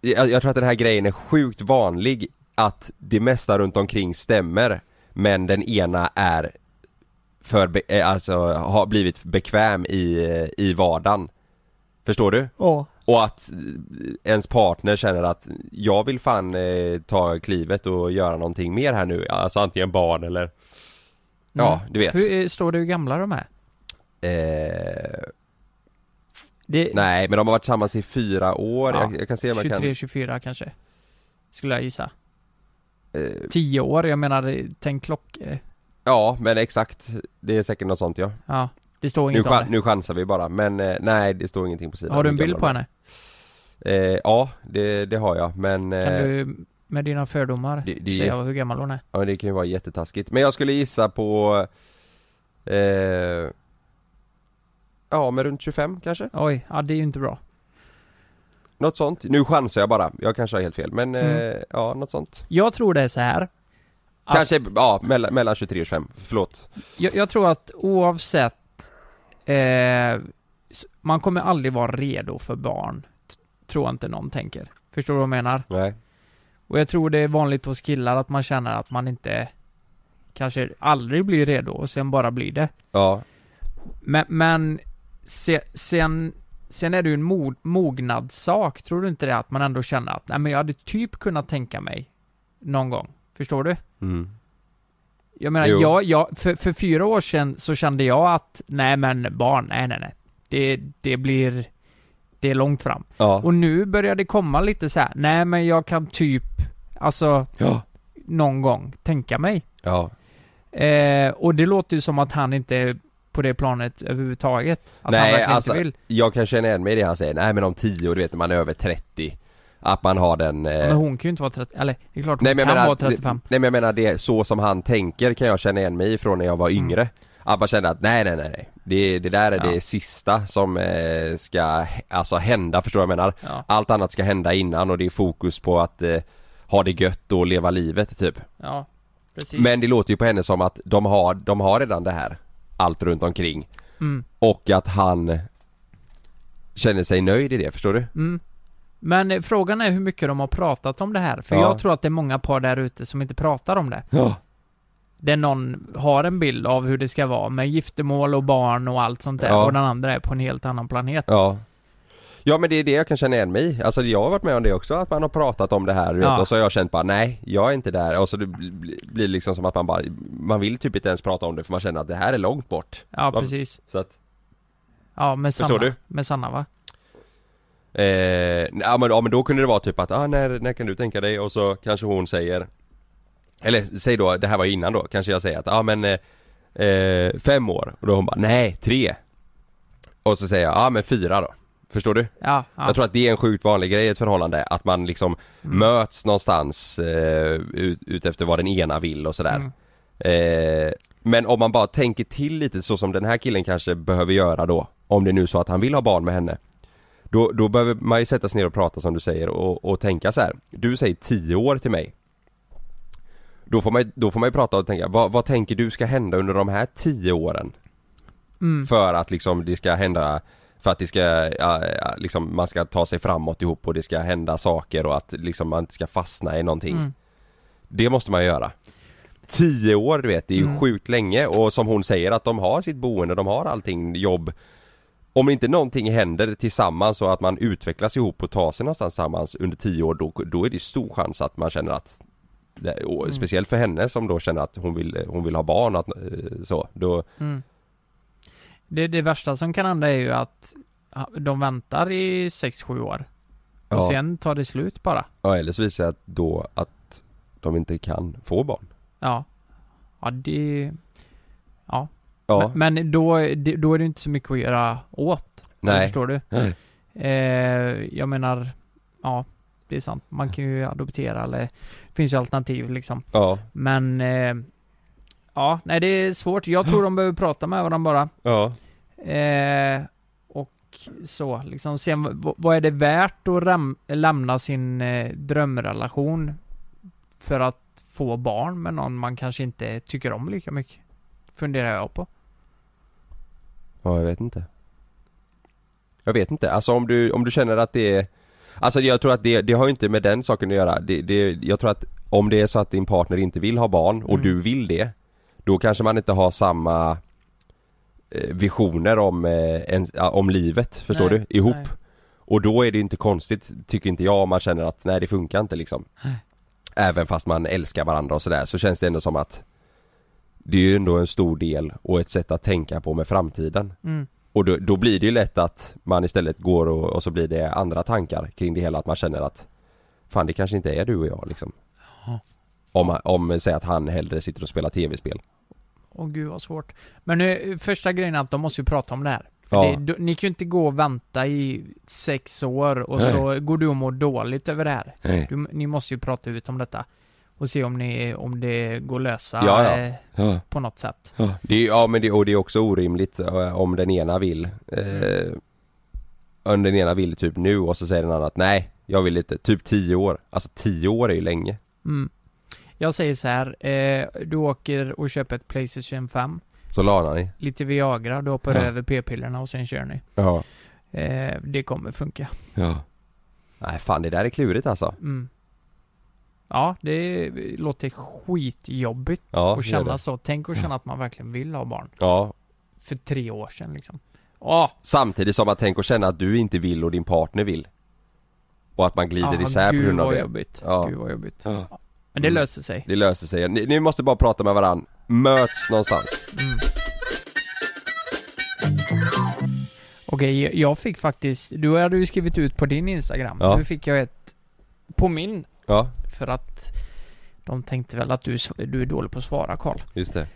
jag, jag tror att den här grejen är sjukt vanlig Att det mesta runt omkring stämmer Men den ena är för be, eh, alltså har blivit bekväm i, eh, i vardagen Förstår du? Ja. Och att eh, ens partner känner att jag vill fan eh, ta klivet och göra någonting mer här nu Alltså antingen barn eller Ja, Mm. du vet Hur, eh, står det hur gamla de är? eh, Det, Nej, men de har varit tillsammans i fyra år. Ja, Jag, jag kan se om jag 23, kan... 24 kanske. Skulle jag gissa. Eh, 10 år, jag menar, eh, tänk klock... eh, ja, men exakt. Det är säkert något sånt ja. Ja, det står Nu, inget chan- om det. nu chansar vi bara, men eh, nej det står ingenting på sidan. Har du en hur bild gammal på de henne? är. Eh, ja, det, det har jag, men Kan eh, du med dina fördomar det- det är säga hur gammal hon är? ja, det kan ju vara jättetaskigt. Men jag skulle gissa på... Eh, ja, men runt 25 kanske? Oj, ja det är ju inte bra. Något sånt. Nu chansar jag bara. Jag kanske har helt fel, men Mm. eh, ja, något sånt. Jag tror det är så här. att- Kanske, ja, mellan, mellan 23 och 25. Förlåt. Jag, jag tror att oavsett, eh, s- man kommer aldrig vara redo för barn. t- Tror jag inte någon tänker. Förstår du vad jag menar? Nej. Och jag tror det är vanligt hos killar att man känner att man inte, kanske aldrig blir redo och sen bara blir det. Ja, Men, men se, sen, sen är det ju en mo, mognadssak, tror du inte det? Att man ändå känner att, nej men jag hade typ kunnat tänka mig någon gång. Förstår du? mm. Jag menar, Jo. jag, jag, för, för fyra år sedan så kände jag att, nej men barn, nej nej nej. Det, det blir, det är långt fram. ja. Och nu börjar det komma lite så här, nej men jag kan typ, alltså ja. någon gång tänka mig. Ja. Eh, och det låter ju som att han inte är på det planet överhuvudtaget. Att han Nej, verkligen alltså, inte vill. jag kan känna igen mig i det han säger, nej men om 10 du vet när man är över 30 Att man har den... Eh... Men hon kan ju inte vara 30, eller det är klart hon nej, men jag kan menar, vara 35. Nej men jag menar det, så som han tänker kan jag känna igen mig ifrån när jag var yngre Att man kände att nej nej nej, nej. Det, det där är Mm. Ja. det sista som eh, ska h- alltså hända, förstår jag vad jag menar? Ja. Allt annat ska hända innan och det är fokus på att eh, ha det gött och leva livet typ Ja, precis. Men det låter ju på henne som att de har, de har redan det här Allt runt omkring Mm. Och att han Känner sig nöjd i det, förstår du? Mm. Men eh, frågan är hur mycket de har pratat om det här. För Ja. jag tror att det är många par där ute som inte pratar om det. Ja Där någon har en bild av hur det ska vara med giftermål och barn och allt sånt där. Ja. Och den andra är på en helt annan planet. Ja Ja men det är det jag kan känna igen mig i. Alltså jag har varit med om det också, att man har pratat om det här du vet, Ja. och så har jag känt bara nej, jag är inte där och så det bl- bl- blir liksom som att man bara, man vill typ inte ens prata om det för man känner att det här är långt bort Ja, Vad- precis. Så att, Ja, med Förstår Sanna. du? Med Sanna va? eh, ja, men, ja men då kunde det vara typ att, ah, när, när kan du tänka dig? Och så kanske hon säger Eller säg då, det här var ju innan då, kanske jag säger att, ja ah, men eh, eh, fem år. Och då hon bara, nej, tre. Och så säger jag, ja men fyra då. Förstår du? Ja, ja. Jag tror att det är en sjukt vanlig grej i ett förhållande, att man liksom möts någonstans eh, ut, ut efter vad den ena vill och sådär. Eh, men om man bara tänker till lite så som den här killen kanske behöver göra då, om det är nu är så att han vill ha barn med henne. Då, då behöver man ju sätta sig ner och prata som du säger och, och tänka så här. du säger 10 år till mig. Då får man, ju- då får man ju prata och tänka, vad, vad tänker du ska hända under de här 10 åren? Mm. För att liksom det ska hända För att det ska, ja, ja, liksom man ska ta sig framåt ihop och det ska hända saker och att liksom man inte ska fastna i någonting Mm. Det måste man göra Tio år du vet, det är ju Mm. sjukt länge och som hon säger att de har sitt boende, de har allting, jobb Om inte någonting händer tillsammans och att man utvecklas ihop och tar sig någonstans tillsammans under tio år då, då är det stor chans att man känner att det- och Mm. Speciellt för henne som då känner att hon vill, hon vill ha barn att, eh, så, då, Mm. Det, det värsta som kan hända är ju att ja, de väntar i 6-7 år. Och Ja. sen tar det slut bara. Ja eller så visar det att då att de inte kan få barn. Ja. Ja, det... Ja. Ja, Men, men då, det- då är det inte så mycket att göra åt. nej. Förstår du? Nej. Eh, jag menar, ja. Det är sant. Man kan ju adoptera eller... Det finns ju alternativ liksom. Ja, Men... Eh, ja, nej det är svårt. Jag tror de behöver prata med varandra bara. ja, Eh, och så, liksom se v- vad är det värt att ram- lämna sin eh, drömrelation för att få barn med någon man kanske inte tycker om lika mycket? Funderar jag på. ja jag vet inte. Jag vet inte, alltså om du, om du känner att det är Alltså jag tror att det, det har ju inte med den saken att göra. Det, det, jag tror att om det är så att din partner inte vill ha barn och Mm. du vill det Då kanske man inte har samma eh, visioner om, eh, ens- ja, om livet, förstår Nej, du? Ihop. nej. Och då är det inte konstigt, tycker inte jag, om man känner att nej det funkar inte liksom Nej. Även fast man älskar varandra och sådär så känns det ändå som att Det är ju ändå en stor del och ett sätt att tänka på med framtiden Mm. Och då, då blir det ju lätt att man istället går och, och så blir det andra tankar kring det hela att man känner att Fan det kanske inte är du och jag liksom Ja. Om, om säg att han hellre sitter och spelar tv-spel Åh gud vad svårt. Men nu, första grejen är att de måste ju prata om det här. För Ja. det, du, ni kan ju inte gå och vänta i sex år och Nej. så går du och mår dåligt över det här. Nej. Du, ni måste ju prata ut om detta. Och se om, ni, om det går att lösa Ja, ja. eh, Ja. på något sätt. Det är, ja men det, och det är också orimligt eh, om den ena vill eh, Om den ena vill typ nu och så säger den andra att nej Jag vill inte, typ 10 år Alltså 10 år är ju länge Mm. Jag säger så här, eh, du åker och köper ett Playstation 5, Så lanar ni lite Viagra, du hoppar Ja. över p-pillerna och sen kör ni. Ja Eh, det kommer funka. Ja Nej fan det där är klurigt alltså Mm. Ja, det låter skitjobbigt Ja, det att gör känna det. så. Tänk att känna att man verkligen vill ha barn. Ja För tre år sedan liksom. Ja, Samtidigt som man tänker och känna att du inte vill och din partner vill Och att man glider ah, isär på gud grund av vad det jobbigt. Ja. Gud vad jobbigt. Ja. Men det Mm. löser sig. Det löser sig, ni, ni måste bara prata med varann Möts någonstans Okej, jag fick faktiskt, du hade ju skrivit ut på din Instagram. Ja. Nu fick jag ett på min Ja, För att de tänkte väl att du, s- du är dålig på att svara Karl. just det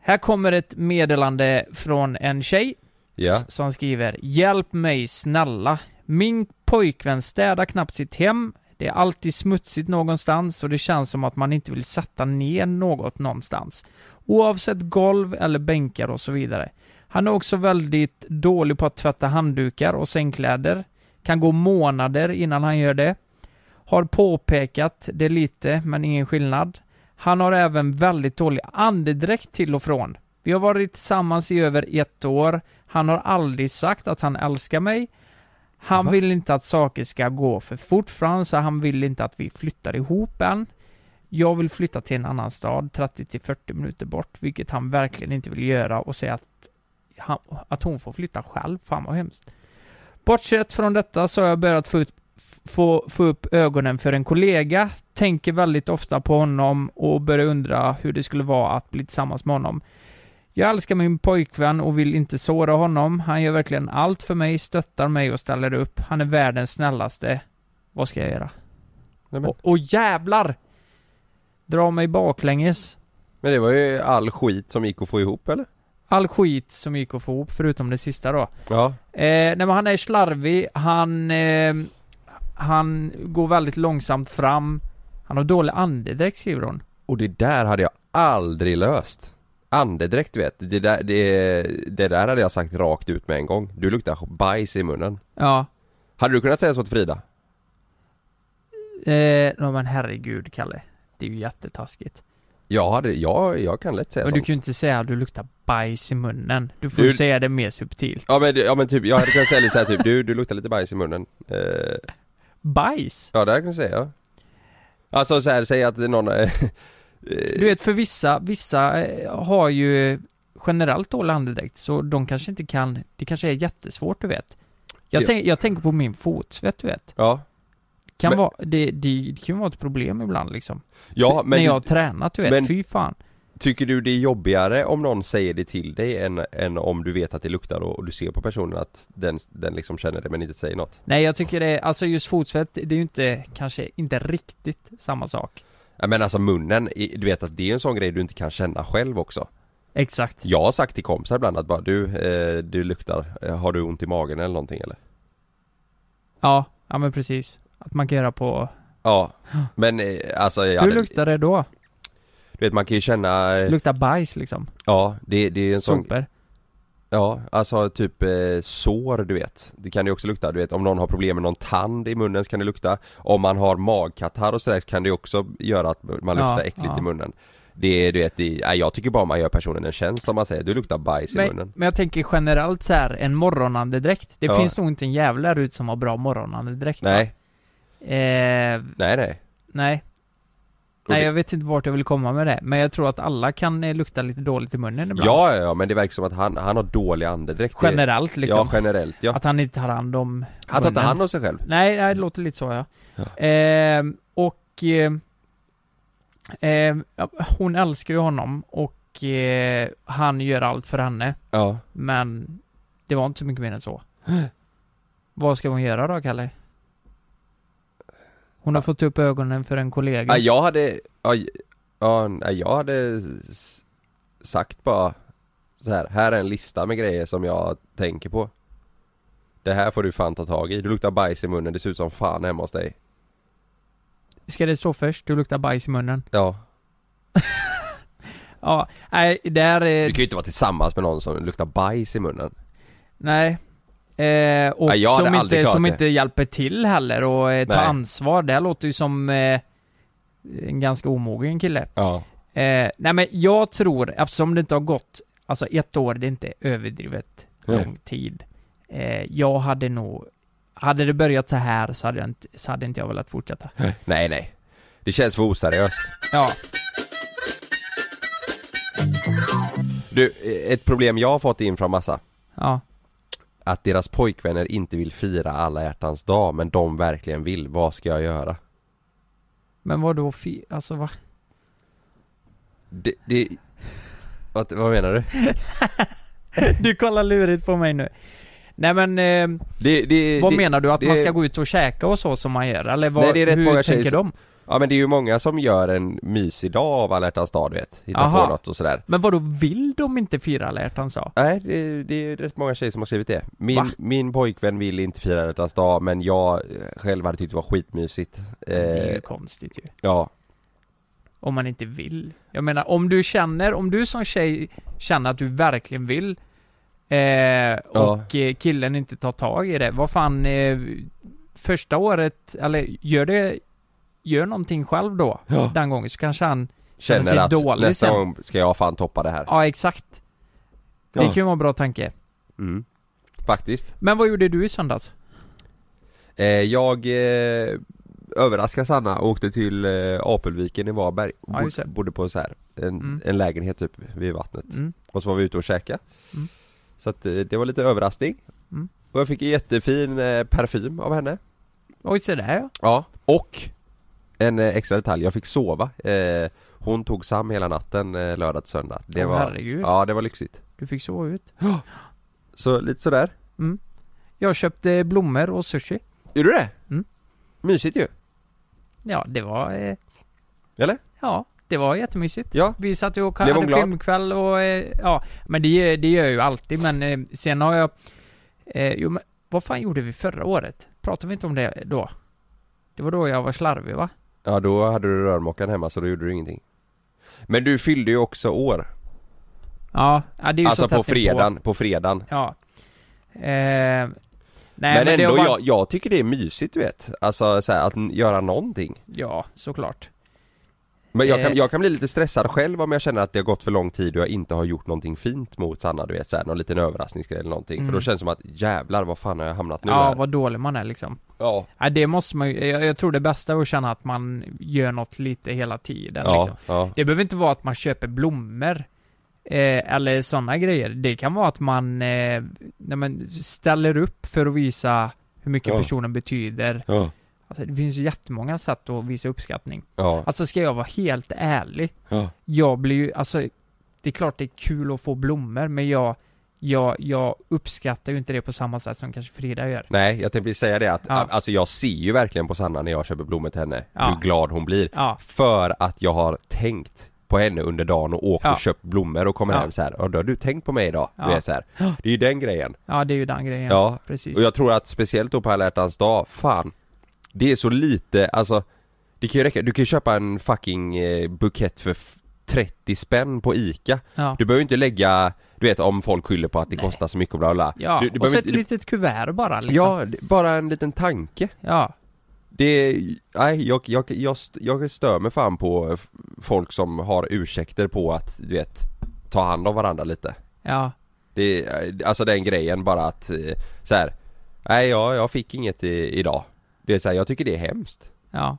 Här kommer ett meddelande från en tjej Ja, s- som skriver Hjälp mig snälla. Min pojkvän städar knappt sitt hem. Det är alltid smutsigt någonstans och det känns som att man inte vill sätta ner något någonstans. Oavsett golv eller bänkar och så vidare. Han är också väldigt dålig på att tvätta handdukar och sängkläder. Kan gå månader innan han gör det. Har påpekat det lite, men ingen skillnad. Han har även väldigt dålig andedräkt till och från. Vi har varit tillsammans i över ett år. Han har aldrig sagt att han älskar mig. Han Va? vill inte att saker ska gå för fort för honom, så han vill inte att vi flyttar ihop än. Jag vill flytta till en annan stad, 30 till 40 minuter bort, vilket han verkligen inte vill göra och säga att, han, att hon får flytta själv. Fan vad hemskt. Bortsett från detta så har jag börjat få, ut, få, få upp ögonen för en kollega, tänker väldigt ofta på honom och börjar undra hur det skulle vara att bli tillsammans med honom. Jag älskar min pojkvän och vill inte såra honom. Han gör verkligen allt för mig, stöttar mig och ställer upp. Han är världens snällaste. Vad ska jag göra? Nej, men, Och, och jävlar! Dra mig baklänges. Men det var ju all skit som gick att få ihop eller? All skit som gick att få ihop, förutom det sista då. Ja. Eh, nej, men han är slarvig, han... Eh, han går väldigt långsamt fram. Han har dålig andedräkt skriver hon. Och det där hade jag aldrig löst Andedräkt du vet, det där, det, det där hade jag sagt rakt ut med en gång Du luktar bajs i munnen Ja. Hade du kunnat säga så till Frida? Eh, no, men herregud Kalle. Det är ju jättetaskigt. Jag hade, jag, jag kan lätt säga Men du sånt kan ju inte säga att du luktar bajs i munnen. Du får ju Du- säga det mer subtilt. ja, men, ja men typ, jag hade kunnat säga lite såhär typ du, du luktar lite bajs i munnen eh, Bajs? Ja det hade jag kunnat säga Alltså såhär, säg att någon eh, Du vet för vissa, vissa eh, har ju generellt dålig andedräkt så de kanske inte kan, det kanske är jättesvårt du vet. Jag, Ja. tänk, jag tänker på min fotsvett du vet. Ja, Kan Men- vara, det, det, det kan ju vara ett problem ibland liksom. ja När men jag har tränat du vet, men- fy fan. Tycker du det är jobbigare om någon säger det till dig än, än om du vet att det luktar och, och du ser på personen att den, den liksom känner det men inte säger något? Nej jag tycker det, alltså just fotsvett, det är ju inte, kanske inte riktigt samma sak. Ja, men alltså munnen, i- du vet att det är en sån grej du inte kan känna själv också Exakt. Jag har sagt till kompisar ibland att bara du, eh, du luktar, eh, har du ont i magen eller någonting eller? Ja, ja men precis. Att man kan göra på... Ja, men eh, alltså jag Hur hade, luktar det då? du vet man kan ju känna, eh, Luktar bajs liksom? ja det, det är en sån Sopor? Ja, alltså typ eh, sår du vet. Det kan det också lukta. Du vet om någon har problem med någon tand i munnen så kan det lukta. Om man har magkatarr och sådär så kan det också göra att man Ja, luktar äckligt ja. i munnen. Det är du vet, det, nej, jag tycker bara man gör personen en tjänst om man säger du luktar bajs i Men, munnen. men jag tänker generellt så här, en morgonandedräkt. Det Ja. finns nog inte en jävla där ute som har bra morgonandedräkt va? Nej, Eh, nej, nej. nej. Nej jag vet inte vart jag vill komma med det, men jag tror att alla kan eh, lukta lite dåligt i munnen ibland. Ja, ja, ja, men det verkar som att han, han har dålig andedräkt. Det- Generellt liksom. Ja, generellt ja. Att han inte tar hand om Han tar inte munnen. hand om sig själv. Nej, nej, det låter lite så ja. Eh, och... Eh, eh, ja, hon älskar ju honom och eh, han gör allt för henne. Ja. Men det var inte så mycket mer än så. Vad ska hon göra då, Kalle? Hon har fått upp ögonen för en kollega. Ja, jag hade, ja, j- ja, nej, jag hade s- sagt bara så här, här är en lista med grejer som jag tänker på Det här får du fan ta tag i, du luktar bajs i munnen, det ser ut som fan hemma hos dig Ska det stå först? Du luktar bajs i munnen. Ja, Ja, nej, där... du Eh, kan ju inte vara tillsammans med någon som luktar bajs i munnen nej. Eh, och Nej, jag hade som, aldrig inte, klarat som det. inte hjälper till heller och eh, tar Nej. ansvar. Det här låter ju som eh, en ganska omogen kille. Ja Eh, nej men jag tror, eftersom det inte har gått, alltså ett år, det är inte överdrivet Nej. lång tid. Eh, jag hade nog, hade det börjat så här så hade, jag inte, så hade inte jag velat fortsätta. Nej nej, det känns för oseriöst Ja, Du, eh, ett problem jag har fått in från massa ja, Att deras pojkvänner inte vill fira alla hjärtans dag men de verkligen vill, vad ska jag göra? men vad då fi, alltså va? Det, det... Vad, vad menar du? Du kollar lurigt på mig nu. Nej men, eh, Det, det, vad det, menar du? Att det- man ska gå ut och käka och så som man gör? Eller vad, Nej, det är rätt hur många tjejer tänker som- de? Ja men det är ju många som gör en mysig dag av alla hjärtans dag du vet, hittar Aha. på något och sådär Men vad då vill de inte fira alla hjärtans dag? Nej det, det är rätt många tjejer som har skrivit det Va? Min, min pojkvän vill inte fira alla hjärtans dag men jag eh, själv hade tyckt det var skitmysigt Det är eh, ju konstigt ju. Ja, Om man inte vill. Jag menar, om du känner, om du som tjej känner att du verkligen vill eh, och eh, killen inte tar tag i det, vad fan eh, första året, eller gör det, gör någonting själv då, Ja. den gången, så kanske han Känner sig känner att dålig nästa sen. gång ska jag fan toppa det här ja exakt. Det Ja. kan ju vara en bra tanke. mm. Faktiskt Men vad gjorde du i söndags? eh, Jag eh, överraskade Sanna och åkte till eh, Apelviken i Varberg och Ja, just det. bod, bodde på så här en, Mm. en lägenhet typ vid vattnet Mm. Och så var vi ute och käka Mm. Så att eh, det var lite överraskning Mm. Och jag fick en jättefin eh, parfym av henne Oj, se där ja. Ja Och en eh, extra detalj, jag fick sova eh, Hon tog Sam hela natten eh, lördag till söndag Det Åh, var herregud. Ja det var lyxigt Du fick sova ut. Så lite sådär Jag köpte blommor och sushi. Gjorde du det? Mm. Mysigt ju, Ja, det var... Eh, eller? ja, Det var jättemysigt. Ja. Vi satt ju och Blev hon hade glad? filmkväll och eh, ja, men det, det gör jag ju alltid men eh, sen har jag... Eh, jo men vad fan gjorde vi förra året? Pratade vi inte om det då? Det var då jag var slarvig va? Ja då hade du rörmokaren hemma så då gjorde du ingenting Men du fyllde ju också år Ja, ja det är ju Alltså så tätt på inpå. fredagen, på fredagen Ja. Eh, nej, men, det ändå, var- jag, jag tycker det är mysigt du vet Alltså så här, att n- göra någonting Ja, såklart. Men jag kan, Eh. jag kan bli lite stressad själv om jag känner att det har gått för lång tid och jag inte har gjort någonting fint mot Sanna du vet så här, någon liten överraskningsgrej eller någonting För Mm. då känns det som att jävlar vad fan har jag hamnat nu Ja, här? vad dålig man är liksom. Ja, Ja, det måste man ju, jag, jag tror det bästa är att känna att man gör något lite hela tiden ja, liksom. ja. Det behöver inte vara att man köper blommor eh, eller sådana grejer. Det kan vara att man, eh, nej, men ställer upp för att visa hur mycket Ja. personen betyder. Ja, Alltså, det finns ju jättemånga sätt att visa uppskattning. ja, Alltså ska jag vara helt ärlig, ja, jag blir ju, alltså det är klart det är kul att få blommor men jag, jag, jag uppskattar ju inte det på samma sätt som kanske Frida gör. Nej, jag tänkte säga det att Ja. alltså jag ser ju verkligen på Sanna när jag köper blommor till henne Ja. hur glad hon blir Ja, För att jag har tänkt på henne under dagen och åkt Ja. och köpt blommor och kommer Ja. hem så här. "Ja, då har du tänkt på mig idag? Ja. Du vet, så här. Det är ju den grejen ja det är ju den grejen. Ja. precis. Och jag tror att speciellt då på alla hjärtans dag, fan Det är så lite, alltså Det kan ju räcka, du kan ju köpa en fucking eh, bukett för f- 30 spänn på Ica ja. Du behöver ju inte lägga, du vet om folk skyller på att det kostar så mycket och bla bla bla. ja. du, du och så behöver ett inte, litet kuvert bara liksom. Ja, det- bara en liten tanke ja. det, nej jag, jag, jag, st- jag stör mig fan på f- folk som har ursäkter på att, du vet, ta hand om varandra lite Ja, Det, är- alltså den grejen bara att, eh, så här, nej jag, jag fick inget i, idag Det är så här, jag tycker det är hemskt ja.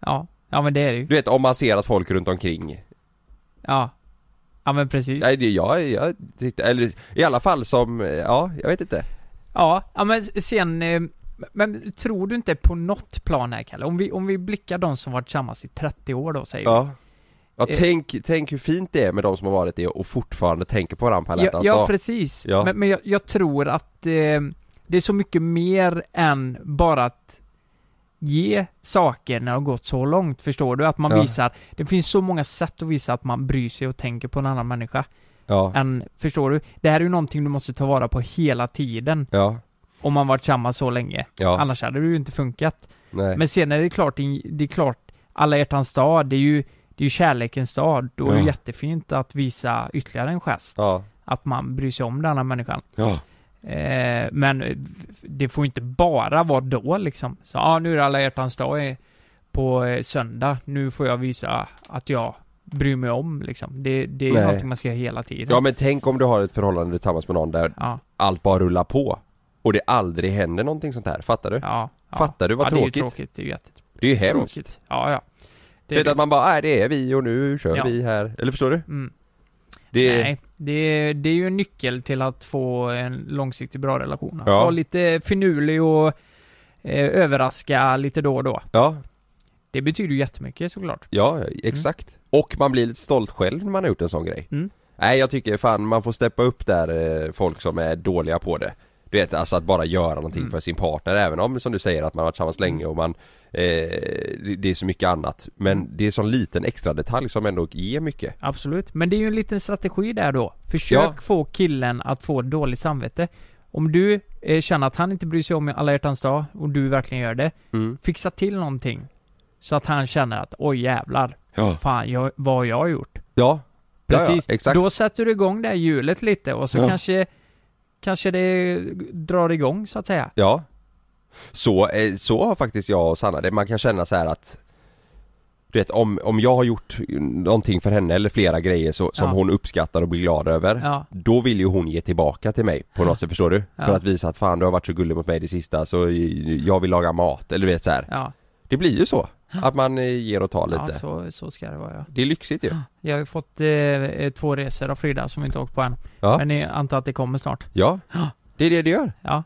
Ja, ja men det är det ju. Du vet om man ser att folk runt omkring, Ja. Ja men precis. nej det, jag, jag tyckte, eller i alla fall som, eh, ja jag vet inte Ja, ja men sen, eh, men tror du inte på något plan här Kalle? Om vi, om vi blickar de som varit tillsammans i 30 år då säger vi. Ja Ja, Eh. tänk, tänk hur fint det är med de som har varit det och fortfarande tänker på varandra på alla Ja, hjärtans ja dag. precis. Ja. Men, men jag, jag tror att eh, det är så mycket mer än bara att ge saker när det har gått så långt, förstår du? Att man Ja. visar, det finns så många sätt att visa att man bryr sig och tänker på en annan människa. Ja, Än, förstår du? Det här är ju någonting du måste ta vara på hela tiden. ja, Om man varit tillsammans så länge. ja, Annars hade det ju inte funkat. nej, Men sen är det klart, det är klart, alla hjärtans dag, det är ju, det är ju kärlekens dag. Då är det Ja. jättefint att visa ytterligare en gest. ja, Att man bryr sig om den andra människan. ja, Eh, men eh, det får inte bara vara då liksom. Så ja, ah, nu är det alla hjärtans dag eh, på eh, söndag. Nu får jag visa att jag bryr mig om liksom. Det, det är Nej. någonting man ska göra hela tiden. Ja men tänk om du har ett förhållande tillsammans med någon där ja, allt bara rullar på och det aldrig händer någonting sånt här, fattar du? ja, ja. Fattar du vad ja, tråkigt? Det är ju tråkigt, det är ju jättetråkigt. Det är ju hemskt. Ja, ja. Det Du är vet det. att man bara, nej det är vi och nu kör Ja. vi här. Eller förstår du? Mm. Det är, Nej, det är, det är ju en nyckel till att få en långsiktigt bra relation. Att Ja. Vara lite finurlig och eh, överraska lite då och då. ja, Det betyder ju jättemycket såklart. ja exakt. Och man blir lite stolt själv när man har gjort en sån grej. Mm. Nej jag tycker fan man får steppa upp där eh, folk som är dåliga på det. Du vet alltså att bara göra någonting Mm. för sin partner även om som du säger att man har varit tillsammans länge och man eh, det- Det är så mycket annat men det är sån liten extra detalj som ändå ger mycket. Absolut. Men det är ju en liten strategi där då. Försök Ja. få killen att få dåligt samvete. Om du eh, känner att han inte bryr sig om alla hjärtans dag och du verkligen gör det. Mm. Fixa till någonting. Så att han känner att oj jävlar, Ja. fan jag, vad har jag har gjort. Ja, Precis. Ja, ja, exakt. Då sätter du igång det här hjulet lite och så Ja. kanske Kanske det drar igång så att säga. Ja så, eh, så har faktiskt jag och Sanna det, man kan känna så här att Du vet om, om jag har gjort någonting för henne eller flera grejer så, som Ja. hon uppskattar och blir glad över Ja. Då vill ju hon ge tillbaka till mig på något sätt, förstår du? Ja. För att visa att fan du har varit så gullig mot mig det sista så jag vill laga mat, eller du vet så här. Ja, Det blir ju så, att man eh, ger och tar lite ja så, så ska det vara ja. Det är lyxigt ju Jag har ju fått eh, eh, två resor av Frida som vi inte åkt på än. Ja. Men jag antar att det kommer snart. Ja, det är det det gör Ja.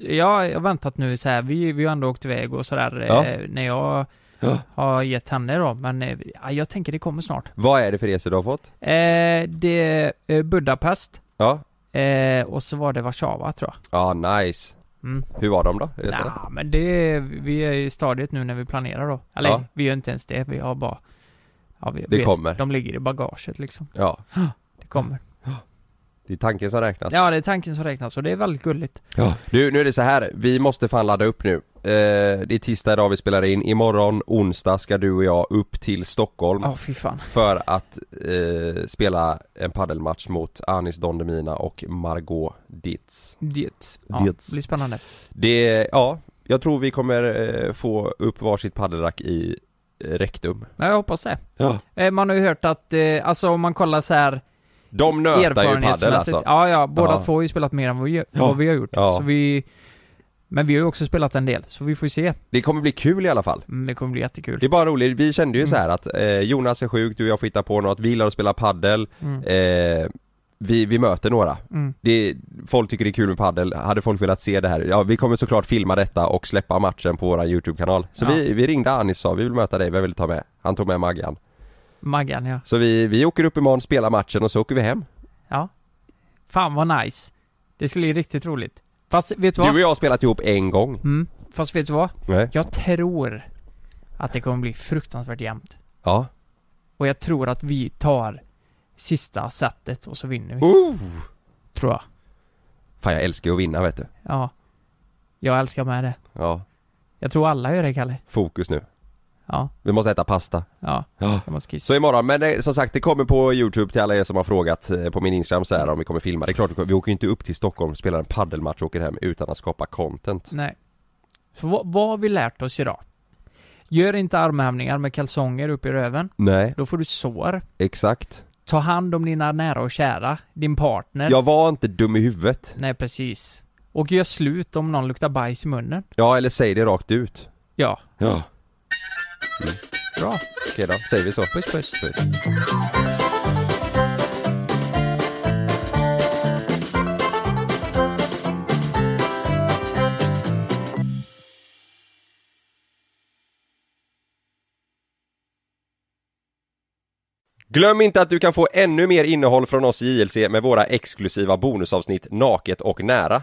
Ja, jag har väntat nu så här. Vi, vi har ändå åkt iväg och sådär Ja. eh, när jag Ja. har gett henne då. Men eh, ja, jag tänker det kommer snart. Vad är det för resor du har fått? Eh, det är eh, Budapest Ja, eh, och så var det Warszawa tror jag. ja nice Mm. Hur var de då? resorna? Ja, men det, vi är i stadiet nu när vi planerar då. Eller Ja. vi gör inte ens det, vi har bara Ja, vi, Det vi- kommer. De ligger i bagaget liksom. Ja, alltså. Det kommer. det är tanken som räknas. Ja, det är tanken som räknas och det är väldigt gulligt. Ja, nu, nu är det så här. vi måste fan ladda upp nu. Eh, det är tisdag idag vi spelar in, imorgon onsdag ska du och jag upp till Stockholm Ja, fy fan. för att eh, spela en paddelmatch mot Anis Don Demina och Margot Ditz. Det. Ja, Det. det blir spännande. Det, ja, jag tror vi kommer eh, få upp varsitt paddelrack i eh, rektum. Men jag hoppas det. Ja. Eh, Man har ju hört att, eh, alltså om man kollar så här De nötar ju paddel alltså. Ja, ja, båda Ja. två har ju spelat mer än vad vi, Ja. vad vi har gjort. Ja. Så vi, men vi har ju också spelat en del, så vi får ju se. Det kommer bli kul i alla fall. Mm, Det kommer bli jättekul. Det är bara roligt, vi kände Mm. ju så här att eh, Jonas är sjuk, du och jag får hitta på något, vi gillar att spela paddel Mm. eh, vi, vi möter några. Mm. Det, folk tycker det är kul med paddel. hade folk velat se det här, ja vi kommer såklart filma detta och släppa matchen på våran YouTube-kanal. Så Ja. vi, vi ringde Anis och sa, vi vill möta dig, vem vill du ta med? Han tog med Maggan. Maggan, ja. Så vi, vi åker upp imorgon, spelar matchen och så åker vi hem. Ja. Fan vad nice. Det skulle bli riktigt roligt. Fast vet du Du vad? och jag har spelat ihop en gång. Mm. Fast vet du vad? Nej. Jag tror att det kommer bli fruktansvärt jämnt. Ja. Och jag tror att vi tar sista setet och så vinner vi. Oh! Tror jag. Fan jag älskar ju att vinna vet du. Ja. Jag älskar med det. Ja, Jag tror alla gör det, Kalle. fokus nu. Ja. Vi måste äta pasta. Ja. Ja. Jag måste kissa. Så imorgon, men det, som sagt det kommer på Youtube till alla er som har frågat eh, på min Instagram så här om vi kommer filma. Det är klart, vi kommer- vi åker ju inte upp till Stockholm, spelar en paddelmatch och åker hem utan att skapa content. Nej. Så vad, vad har vi lärt oss idag? Gör inte armhävningar med kalsonger upp i röven. Nej, Då får du sår. exakt. Ta hand om dina nära och kära. Din partner. Jag var inte dum i huvudet. Nej, precis. Och gör slut om någon luktar bajs i munnen. Ja, eller säg det rakt ut. Ja. Ja. Bra. Okej då, säger vi så. Puss, puss. Puss. Glöm inte att du kan få ännu mer innehåll från oss i JLC med våra exklusiva bonusavsnitt Naket och nära.